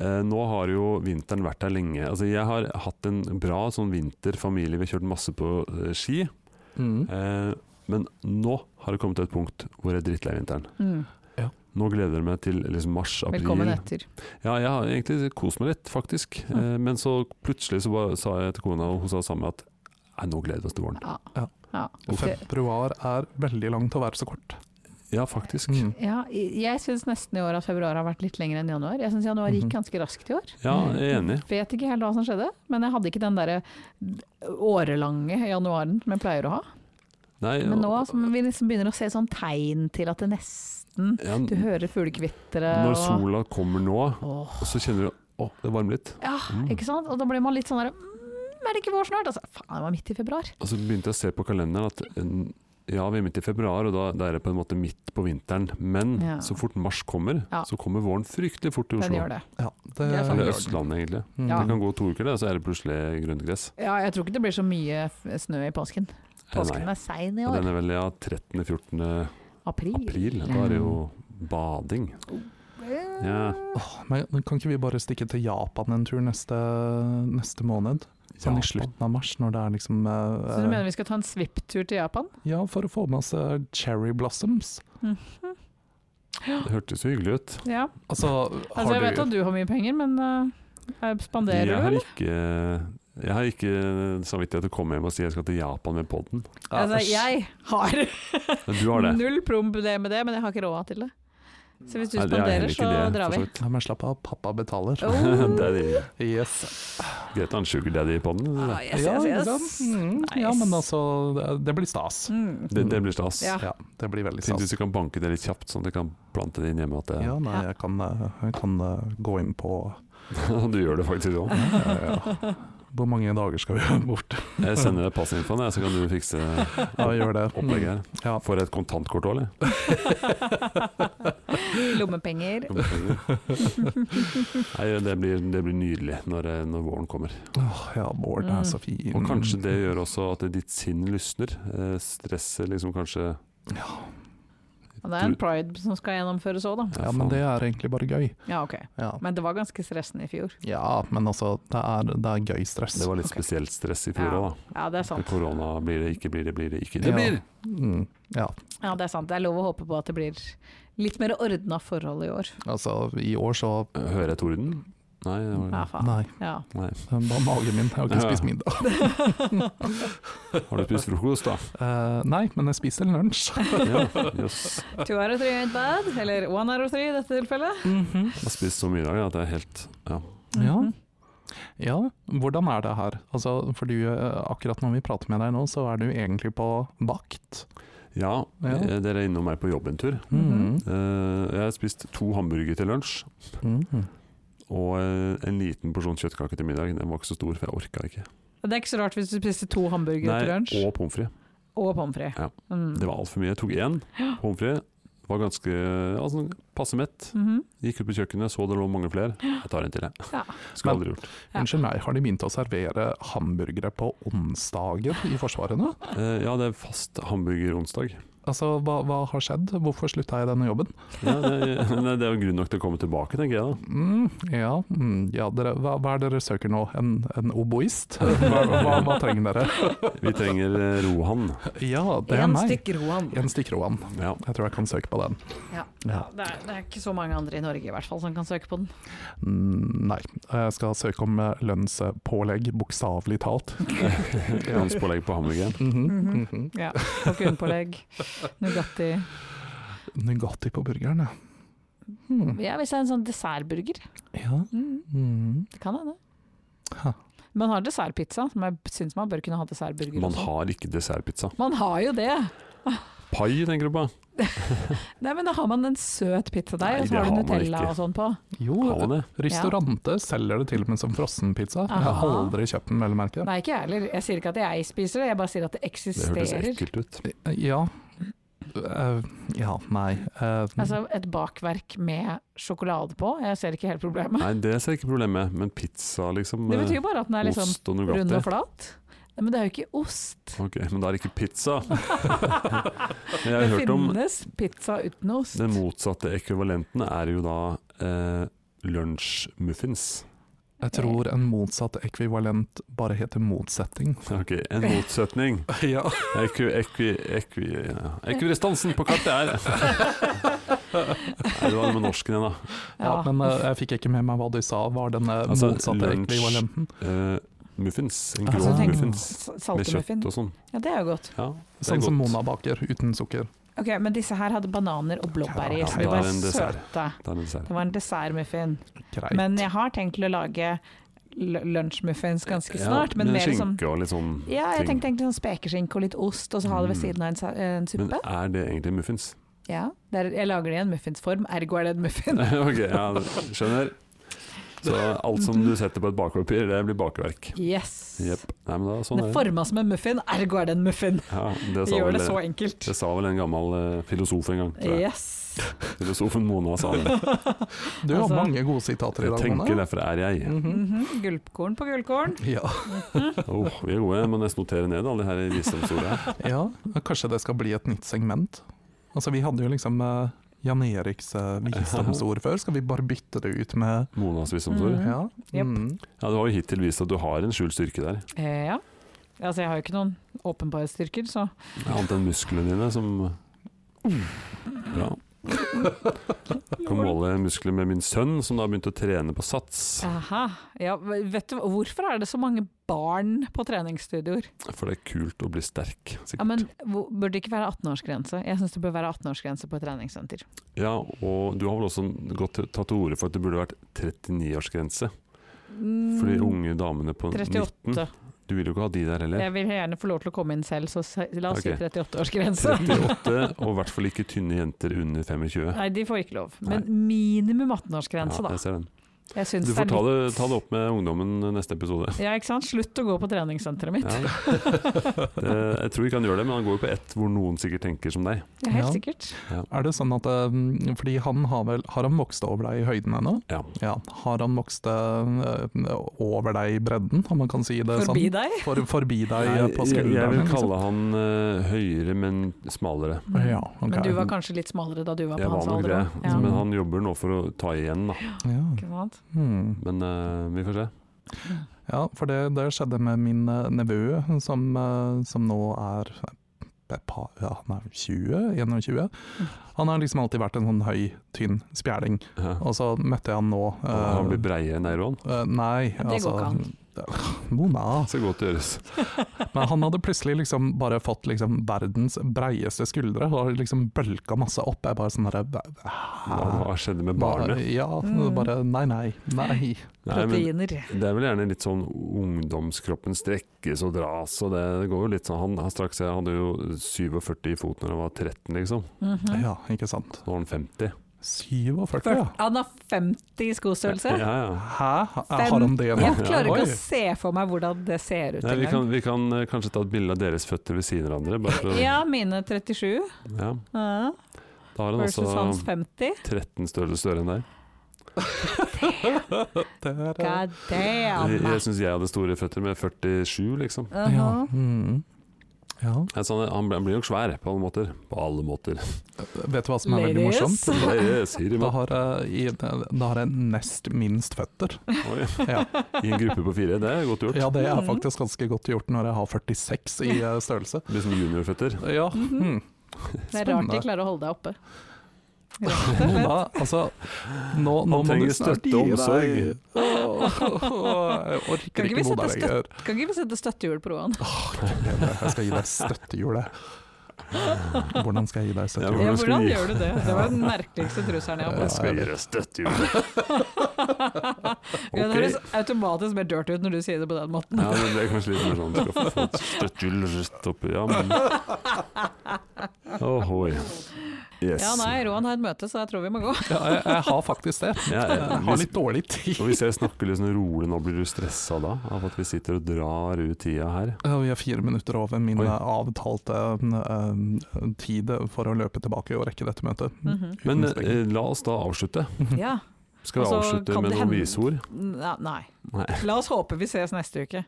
B: Eh, nå har jo vinteren vært her lenge. Altså, jeg har hatt en bra sånn vinterfamilie. Vi har kjørt masse på eh, ski.
A: mm.
B: Eh, men nå har det kommet til et punkt hvor jeg er drittlei vinteren.
C: Mm.
B: Nå gleder jeg meg til liksom mars-april.
C: Velkommen etter.
B: Ja, jeg har egentlig kost meg litt, faktisk. Eh, men så plutselig så bare, sa jeg til kona, og hun sa sammen at Nei, nå gleder vi oss til våren.
C: Ja.
A: Ja.
C: Ja. Det-
A: Februar er veldig lang til å være så kort.
B: Ja, faktisk.
A: Mm.
C: Ja, jeg syns nesten i år at februar har vært litt lenger enn januar. Jeg syns januar gikk
A: Mhm.
C: ganske raskt i år.
B: Ja, jeg er enig.
C: Vet ikke helt hva som skjedde, men jeg hadde ikke den derre årelange januaren som jeg pleier å ha.
B: Nei,
C: Men nå som vi liksom begynner å se sånn tegn til at det nesten
B: ja,
C: Du hører fuglekvitre
B: Når
C: og
B: sola kommer nå,
C: Åh,
B: så kjenner du Å, det varmer litt.
C: Ja,
B: Mm.
C: ikke sant? Og da blir man litt sånn derre mm, Er det ikke vår snart? Altså, faen, det var midt i februar.
B: Og så begynte jeg å se på kalenderen at en- ja, vi er midt i februar, og da, da er det på en måte midt på vinteren. Men
C: Ja.
B: så fort mars kommer,
C: Ja.
B: så kommer våren fryktelig fort i
C: Den
B: Oslo.
C: gjør det. Sånn
A: Ja, det,
C: Det er sant.
B: Eller Østlandet, egentlig.
A: Mm.
C: Ja.
B: Det kan gå to uker, det, så er det plutselig grønt gress.
C: Ja, jeg tror ikke det blir så mye f- snø i påsken.
B: Eh,
C: Påsken
B: Nei.
C: er sein i
B: Og
C: år.
B: Den er vel ja, 13.-14.
C: April.
B: april. Da er det jo bading. Ja.
A: Åh, Men kan ikke vi bare stikke til Japan en tur neste, neste måned? Sånn i slutten av mars, når det er liksom eh,
C: Så du mener vi skal ta en svipptur til Japan?
A: Ja, for å få med oss eh, cherry blossoms.
B: Det hørtes jo hyggelig ut.
C: Ja.
A: Altså, har
C: Altså, jeg vet
A: du
C: at du har mye penger, men eh, jeg
B: Jeg
C: spanderer du,
B: har
C: eller?
B: ikke, jeg har ikke samvittighet til å komme hjem og si jeg skal til Japan med podden.
C: Altså, jeg har
B: Men du *laughs* har det.
C: Null problem med det, men jeg har ikke råd til det. Så hvis du
B: Nei, det er
C: spanderer,
B: heller
C: så
B: ikke det,
C: drar
B: for
C: vi.
B: så vidt. *laughs*
A: Nei, men slapp av, pappa betaler.
C: Oh.
B: det er det.
A: Yes.
B: greit å ha en sugar daddy i podden.
C: Ah, yes,
A: ja,
C: yes,
A: ikke
C: yes.
A: sant? Mm, ja,
C: Nice.
A: men altså, det- det blir stas.
C: Mm.
B: Det, det blir stas. *laughs*
C: Ja.
A: Ja, det blir veldig
B: Fint hvis
A: stas.
B: du kan banke det litt kjapt, sånn at du kan plante det inn hjemme. At det, *laughs*
A: Ja, nei,
C: Ja.
A: jeg kan, eh, jeg kan eh, gå inn
C: *laughs*
A: på
B: du gjør det faktisk òg.
A: ja, ja. Hvor mange dager skal vi bort?
B: Jeg sender deg passinfoen, jeg, så kan du fikse
A: Ja, gjør det.
B: *laughs* opplegget her.
A: Ja.
B: Får jeg et kontantkort òg,
C: Lommepenger.
B: eller? Nei, det blir, det blir nydelig når, eh, når våren kommer.
A: Åh, ja, våren er
C: Mm.
A: så fin.
B: Og kanskje det gjør også at ditt sinn lysner. Eh, stresset liksom kanskje
A: Ja.
C: Ja, Det er en pride som skal gjennomføres òg, da.
A: Ja, men det er egentlig bare gøy.
C: Ja, ok.
A: Ja,
C: Men det var ganske stressende i fjor.
A: ja men altså, det er, det er gøy stress.
B: Det var litt
C: Ok.
B: spesielt stress i fjor òg, da.
C: Ja, det er sant.
B: Korona blir det, ikke blir det, blir det, ikke
A: Ja.
B: det blir!
A: Mm, ja,
C: Ja, det er sant. Det er lov å håpe på at det blir litt mer ordna forhold i år.
A: altså, i år så
B: Hører jeg torden? Nei, det var,
C: Ja, faen.
A: Nei,
C: Ja.
B: nei.
A: bare magen min. Jeg har ikke
B: Ja.
A: spist middag.
B: Har du spist frokost, da?
A: Eh, nei, men jeg spiser lunsj.
C: *laughs*
B: Ja, jøss.
C: Two out of three ain't bad. Eller one out of three i dette tilfellet.
B: Jeg har spist så mye i dag at det er helt ja.
A: Ja.
C: Mhm.
A: Ja, hvordan er det her? Altså, for du, eh, akkurat når vi prater med deg nå, så er du egentlig på vakt.
B: ja,
A: Ja.
B: eh, dere er innom meg på jobbentur.
A: Mhm.
B: Eh, Jeg har spist to hamburgere til lunsj
A: Mhm.
B: og eh, en liten porsjon kjøttkake til middag. Den var ikke så stor, for jeg orka ikke.
C: Det er ikke så rart hvis du spiste to hamburgere til lunsj
B: og pommes frites.
C: og pommes frites.
B: Ja.
C: Mm.
B: Det var altfor mye. Jeg tok én pommes frites. Var ganske ja, sånn passe mett.
C: Mhm.
B: Gikk ut på kjøkkenet, så det lå mange flere. Jeg tar en til, jeg.
C: Ja.
B: Skulle
A: Men-
B: aldri gjort.
C: Ja. *laughs*
A: Unnskyld meg, har de begynt å servere hamburgere på onsdager i Forsvaret nå?
B: Eh, Ja, det er fast hamburgeronsdag.
A: Altså, hva, hva har skjedd? Hvorfor slutta jeg denne jobben?
B: Ja, det, *laughs* nei, det er jo grunn nok til å komme tilbake, tenker jeg da.
A: Mm, ja, mm, ja dere, hva, hva er det dere søker nå? En, en *laughs* oboist? Hva, hva, hva trenger dere?
B: Vi trenger eh, Rohan.
A: Ja, det er
C: En
A: meg.
C: stikk Roan.
A: En stikkroan.
B: Ja.
A: Jeg tror jeg kan søke på den.
C: Ja.
A: Ja.
C: Det, er, det er ikke så mange andre i Norge i hvert fall som kan søke på den.
A: Mm, Nei, jeg skal søke om eh, lønnspålegg, bokstavelig talt.
B: Lønnspålegg på hamburgeren.
A: Mhm,
C: Mhm.
A: mhm.
C: Ja.
B: *laughs*
C: Kalkunpålegg, Nugatti
A: Nugatti på burgeren, ja. Hmm.
C: Ja, hvis det er en sånn dessertburger.
A: ja.
C: Mm.
A: Mm.
C: Det kan hende.
A: Ha.
C: Man har dessertpizza, som jeg syns man bør kunne ha dessertburger
B: Man
C: også.
B: har ikke dessertpizza.
C: Man har jo det!
B: Pai, tenker du på?
C: Nei, men da har man en søt
B: Nei,
C: pizzadeig, og så
B: det
C: har du
B: har man
C: Nutella
B: ikke.
C: og sånn på.
B: Har
A: Jo,
B: man det?
A: restaurante selger det til og med som frossenpizza. Jeg har
C: Aha.
A: aldri kjøpt den, vel å merke.
C: Nei, ikke jeg heller. Jeg sier ikke at jeg spiser det, jeg bare sier at det
B: Det hørtes
C: eksisterer.
B: ekkelt ut.
A: Ja. Eh, ja, nei. Eh,
B: Mm.
C: Altså et bakverk med sjokolade på, jeg ser ikke
B: *laughs*
C: helt problemet.
B: Nei, det ser jeg ikke problemet med, men pizza, liksom.
C: Det
B: eh,
C: betyr jo bare at den er litt sånn
B: Ost og
C: rund og
B: Nugatti.
C: flat. Nei, Men det er jo ikke
B: *laughs*
C: ost. *laughs*
B: Ok, men da er det ikke pizza. Men jeg
C: Det
B: har hørt om
C: finnes pizza uten ost.
B: den motsatte ekvivalenten er jo da eh, lunsjmuffins.
A: jeg tror en motsatt ekvivalent bare
B: *laughs*
A: heter motsetting.
B: Ok, en motsetning.
A: ja.
B: Ekvi... ekvi... ekvi... ja. Ekvirestansen på kartet er Nei, det var det med norsken igjen, da.
C: Ja.
A: men eh, jeg fikk ikke med meg hva du sa var den eh,
B: Altså,
A: motsatte
B: lunsj.
A: ekvivalenten.
B: Eh, muffins. En grå
A: Altså,
C: Altså, tenk
B: muffins
C: s-
B: med kjøtt
C: saltemuffin.
B: og sånn.
C: Ja, det er jo godt.
B: Ja, det er
A: Sånn som
B: godt.
A: Mona baker, uten sukker.
C: Ok, Men disse her hadde bananer og blåbær i,
A: Ja,
C: så
A: det
C: de
A: er
C: var
B: en dessert.
C: søte.
B: Det er en dessert.
C: Det var en dessertmuffin.
A: Greit.
C: Men jeg har tenkt til å lage l- lunsjmuffins ganske
B: Ja,
C: snart, men
B: med
C: mer som
B: skinke og litt sånn
C: Ja, jeg
B: ting.
C: tenkte egentlig sånn spekeskinke og litt ost, og så ha det ved
B: Mm.
C: siden av en, sa- eh, en suppe.
B: Men er det egentlig muffins? *laughs*
C: ja, det er, jeg lager det i en muffinsform, ergo er det en muffin.
B: ok, ja, skjønner. Så alt som du setter på et bakepapir, det blir bakverk.
C: Yes!
B: Jepp. Nei, men da, sånn
C: det
B: er
C: er
B: det.
C: forma som en muffin, ergo er det en muffin.
B: Ja, det,
C: Vi
B: sa
C: gjør
B: vel,
C: det så enkelt.
B: det sa vel en gammel eh, filosof en gang. Tror jeg.
C: Yes!
B: Filosofen Mona sa det.
A: Du har
C: Altså-
A: mange gode sitater *laughs* i
B: Jeg
A: dag,
B: tenker
A: Mona.
B: derfor er jeg.
A: Mhm.
C: Mhm, Gullkorn på gullkorn.
A: Ja.
B: Åh, vi er gode, jeg må nesten notere ned alle de her visdomsordene. her.
A: ja, kanskje det skal bli et nytt segment. Altså, vi hadde jo liksom eh, Jan Eriks eh, visdomsord før, skal vi bare bytte det ut med
B: Monas visdomsord.
C: Mhm.
A: Ja.
C: Jep.
A: Mm.
B: Ja, du har jo hittil vist at du har en skjult styrke der.
C: Eh, ja. Altså, jeg har jo ikke noen åpenbare styrker, så
B: Annet enn musklene dine som Bra. Kan måle muskler med min sønn, som da har begynt å trene på sats.
C: Aha. Ja, vet du, hva- Hvorfor er det så mange barn på treningsstudioer?
B: For det er kult å bli sterk, sikkert.
C: Ja, men hvor- Burde det ikke være 18-årsgrense? Jeg syns det bør være 18-årsgrense på et treningssenter.
B: Ja, og du har vel også gått til, tatt til orde for at det burde vært 39-årsgrense
C: Mm.
B: for de unge damene på 19.
C: 38.
B: Du vil jo ikke ha de der heller.
C: Jeg vil gjerne få lov til å komme inn selv, så se- la oss
B: Ok.
C: si 38-årsgrense. *laughs*
B: 38, og i hvert fall ikke tynne jenter under 25.
C: Nei, de får ikke lov. Men minimum
B: Ja,
C: 18-årsgrense, da.
B: jeg ser den.
C: Jeg syns
B: Du
C: det
B: får
C: er
B: ta
C: litt
B: det, ta det opp med ungdommen neste
C: *laughs*
B: episode.
C: Ja, ikke sant? Slutt å gå på treningssenteret mitt.
B: Ja. Det, jeg tror ikke han gjør det, men han går jo på ett hvor noen sikkert tenker som deg.
C: Det er helt
A: Ja.
C: sikkert.
A: Er det sånn at eh, Fordi han har vel Har han vokst over deg i høyden ennå?
B: Ja.
A: Ja. Har han vokst eh, over deg i bredden, om man kan si det
C: Forbi
A: sånn?
C: deg.
A: For, forbi deg eh,
B: Jeg,
A: på
B: jeg,
A: skulderen?
B: vil
A: liksom?
B: kalle han eh, høyere, men smalere.
A: Ja, ok.
C: Men du var kanskje litt smalere da du var på
B: Jeg var
C: hans
B: nok
C: alder.
B: det,
C: også. Ja.
B: men han jobber nå for å ta igjen, da.
A: liksom? ja.
C: Ikke sant?
A: Hmm.
B: Men eh, vi får se.
A: Ja, for det, det skjedde med min eh, nevø, som, eh, som nå er et par, ja, han er 20, 21.
C: Mm.
A: Han har liksom alltid vært en sånn høy, tynn spjæling,
B: Ja.
A: og så møtte jeg han nå. eh,
B: Han blir breiere enn Eiron.
A: eh, nei,
C: Ja, det går ikke an.
A: Mona.
B: Så godt gjøres.
A: altså. Men han hadde plutselig liksom bare fått liksom verdens breieste skuldre og liksom bølka masse opp. Jeg bare sånn herre
B: Hva hva skjedde med barnet?
A: Ja,
C: Mm.
A: bare nei, nei, nei.
B: Nei, men
C: Proteiner.
B: Det er vel gjerne litt sånn ungdomskroppen strekkes og dras, og det, det går jo litt sånn Han har straks jeg hadde jo 47 i foten da jeg var 13, liksom.
C: Mhm.
A: Ja, ikke sant.
B: Nå er han 50.
A: 47, ja.
C: Han har 50 i skostørrelse.
B: Ja, ja.
A: Hæ? Har han det nå?
B: Ja.
C: Jeg klarer ikke
A: Oi.
C: å se for meg hvordan det ser ut
B: Nei, vi, kan,
C: engang.
B: vi kan eh, kanskje ta et bilde av deres føtter ved siden av hverandre. Bare for, å-
C: Ja, mine 37
B: ja.
C: ja.
B: Da har han
C: versus hans
B: altså
C: 50.
B: 13 størrelse større enn deg.
A: Det er, eh,
C: God
B: Jeg,
C: damn!
B: jeg syns jeg hadde store føtter med 47, liksom.
A: Ja.
C: Mhm.
A: Mm. ja.
B: Altså, han, han ble- han blir nok svær på alle måter. På alle måter. *laughs*
A: Vet du hva som er veldig
C: Ladies.
A: morsomt?
B: Det er- sier de
A: Da
B: meg.
A: har, jeg, i- da har jeg nest minst
B: *laughs*
A: føtter.
B: Oi.
A: Ja.
B: I en gruppe på fire, det er godt gjort.
A: ja, det er
C: Mhm.
A: faktisk ganske godt gjort når jeg har 46 i eh, størrelse.
B: Litt sånn juniorføtter.
A: Ja.
C: Mhm.
A: Mm.
C: Det er rart de
A: Spennende.
C: klarer å holde deg oppe.
A: Mona, altså nå, nå
B: Han
A: må
B: trenger
A: du snart
B: støtte
A: gi
B: og
A: deg.
B: omsorg.
A: Åh, Jeg
C: Kan
A: orker
C: ikke vi
A: ikke Mona
C: sette
A: lenger.
C: Kan ikke vi sette støttehjul på Roan?
A: Jeg skal gi deg
B: *laughs*
A: støttehjulet. Hvordan skal jeg gi deg
B: Ja,
A: støttehjulet?
C: Ja,
B: hvordan skal
C: hvordan
B: vi-
C: gjør du det? Det var den merkeligste truseren jeg har på.
A: Ja,
B: Jeg skal
A: jeg
B: gi deg støttehjul.
C: *laughs* Ja, det
B: Ok.
C: høres automatisk mer dirty ut når du sier det på den måten.
B: Ja, det ble kanskje litt mer sånn Skal få- få et støttehjul rett oppi Ja, men Ohoi. Yes.
C: Ja, nei, Roan har et møte, så jeg tror vi må gå.
A: Ja, jeg, jeg har faktisk det.
B: Ja,
A: Jeg har
B: hvis,
A: litt dårlig tid.
B: og hvis jeg snakker litt sånn rolig nå, blir du stressa da? Av at vi sitter og drar ut tida her?
A: Ja, Eh, Vi er fire minutter over min
B: Oi.
A: eh, avtalte eh, tid for å løpe tilbake og rekke dette møtet.
C: Mhm.
B: Men
A: Uten
B: eh, la oss da avslutte.
C: Ja.
B: Skal vi
C: Altså,
B: avslutte
C: kan
B: med
C: det
B: noen
C: hende-
B: visord?
C: N- Nei.
B: Nei.
C: La oss håpe vi ses neste uke,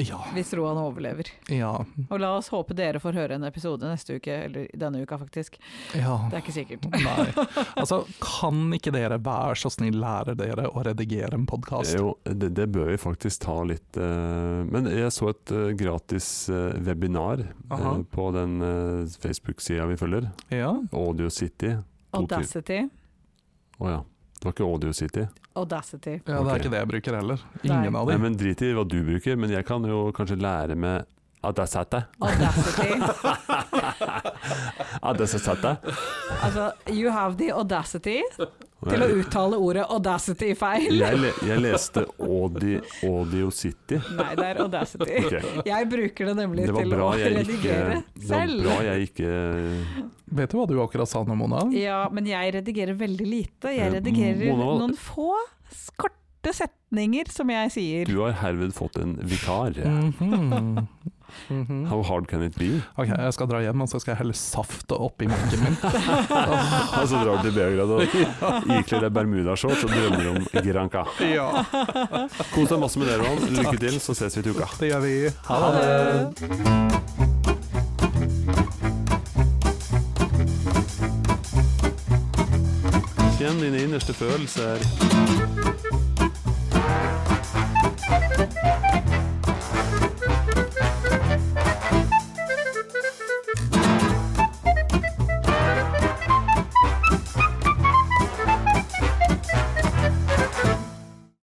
A: Ja,
C: hvis Roan overlever.
A: ja,
C: Og la oss håpe dere får høre en episode neste uke, eller denne uka faktisk.
A: ja.
C: Det er ikke sikkert.
A: Nei. Altså, kan ikke dere være så snill lære dere å redigere en podkast?
B: Jo, det, det bør vi faktisk ta litt eh, Men jeg så et eh, gratis eh, webinar eh,
A: Aha.
B: på den eh, Facebook-sida vi følger,
A: Ja.
B: Audio City.
C: Audacity.
B: Å ja. Det var ikke Audio City.
C: Audacity.
A: ja, det
B: Ok.
A: er ikke det jeg bruker heller.
C: Nei.
A: Ingen av
B: Nei,
A: dem.
B: men Drit i hva du bruker, men jeg kan jo kanskje lære med Adasata.
C: Audacity.
B: Adasata.
C: Altså, you have the audacity til å
B: Jeg,
C: uttale ordet audacity feil.
B: jeg, le- jeg leste Audi, Audio City.
C: Nei, det er audacity.
B: *laughs* Ok.
C: Jeg bruker det nemlig
B: Det var
C: til å
B: bra jeg ikke,
C: redigere
B: det var
C: selv.
B: bra jeg ikke
A: Vet du hva du akkurat sa nå, Mona?
C: Ja, men jeg redigerer veldig lite.
B: Eh,
C: Jeg redigerer
B: Mona-
C: noen få s- korte setninger som jeg sier.
B: Du har herved fått en vikar.
A: Mhm. Mhm.
B: How hard can it be?
A: Ok, jeg skal dra hjem, og så skal jeg helle saft oppi mikken min.
B: *laughs* Og så drar du til Beograd og ikler deg bermudashorts og drømmer om Granca.
A: Ja,
B: Kos deg masse med dere, Ron. Lykke til, så ses vi til uka.
A: det gjør vi. Ha
C: det.
B: Kjenn dine innerste følelser.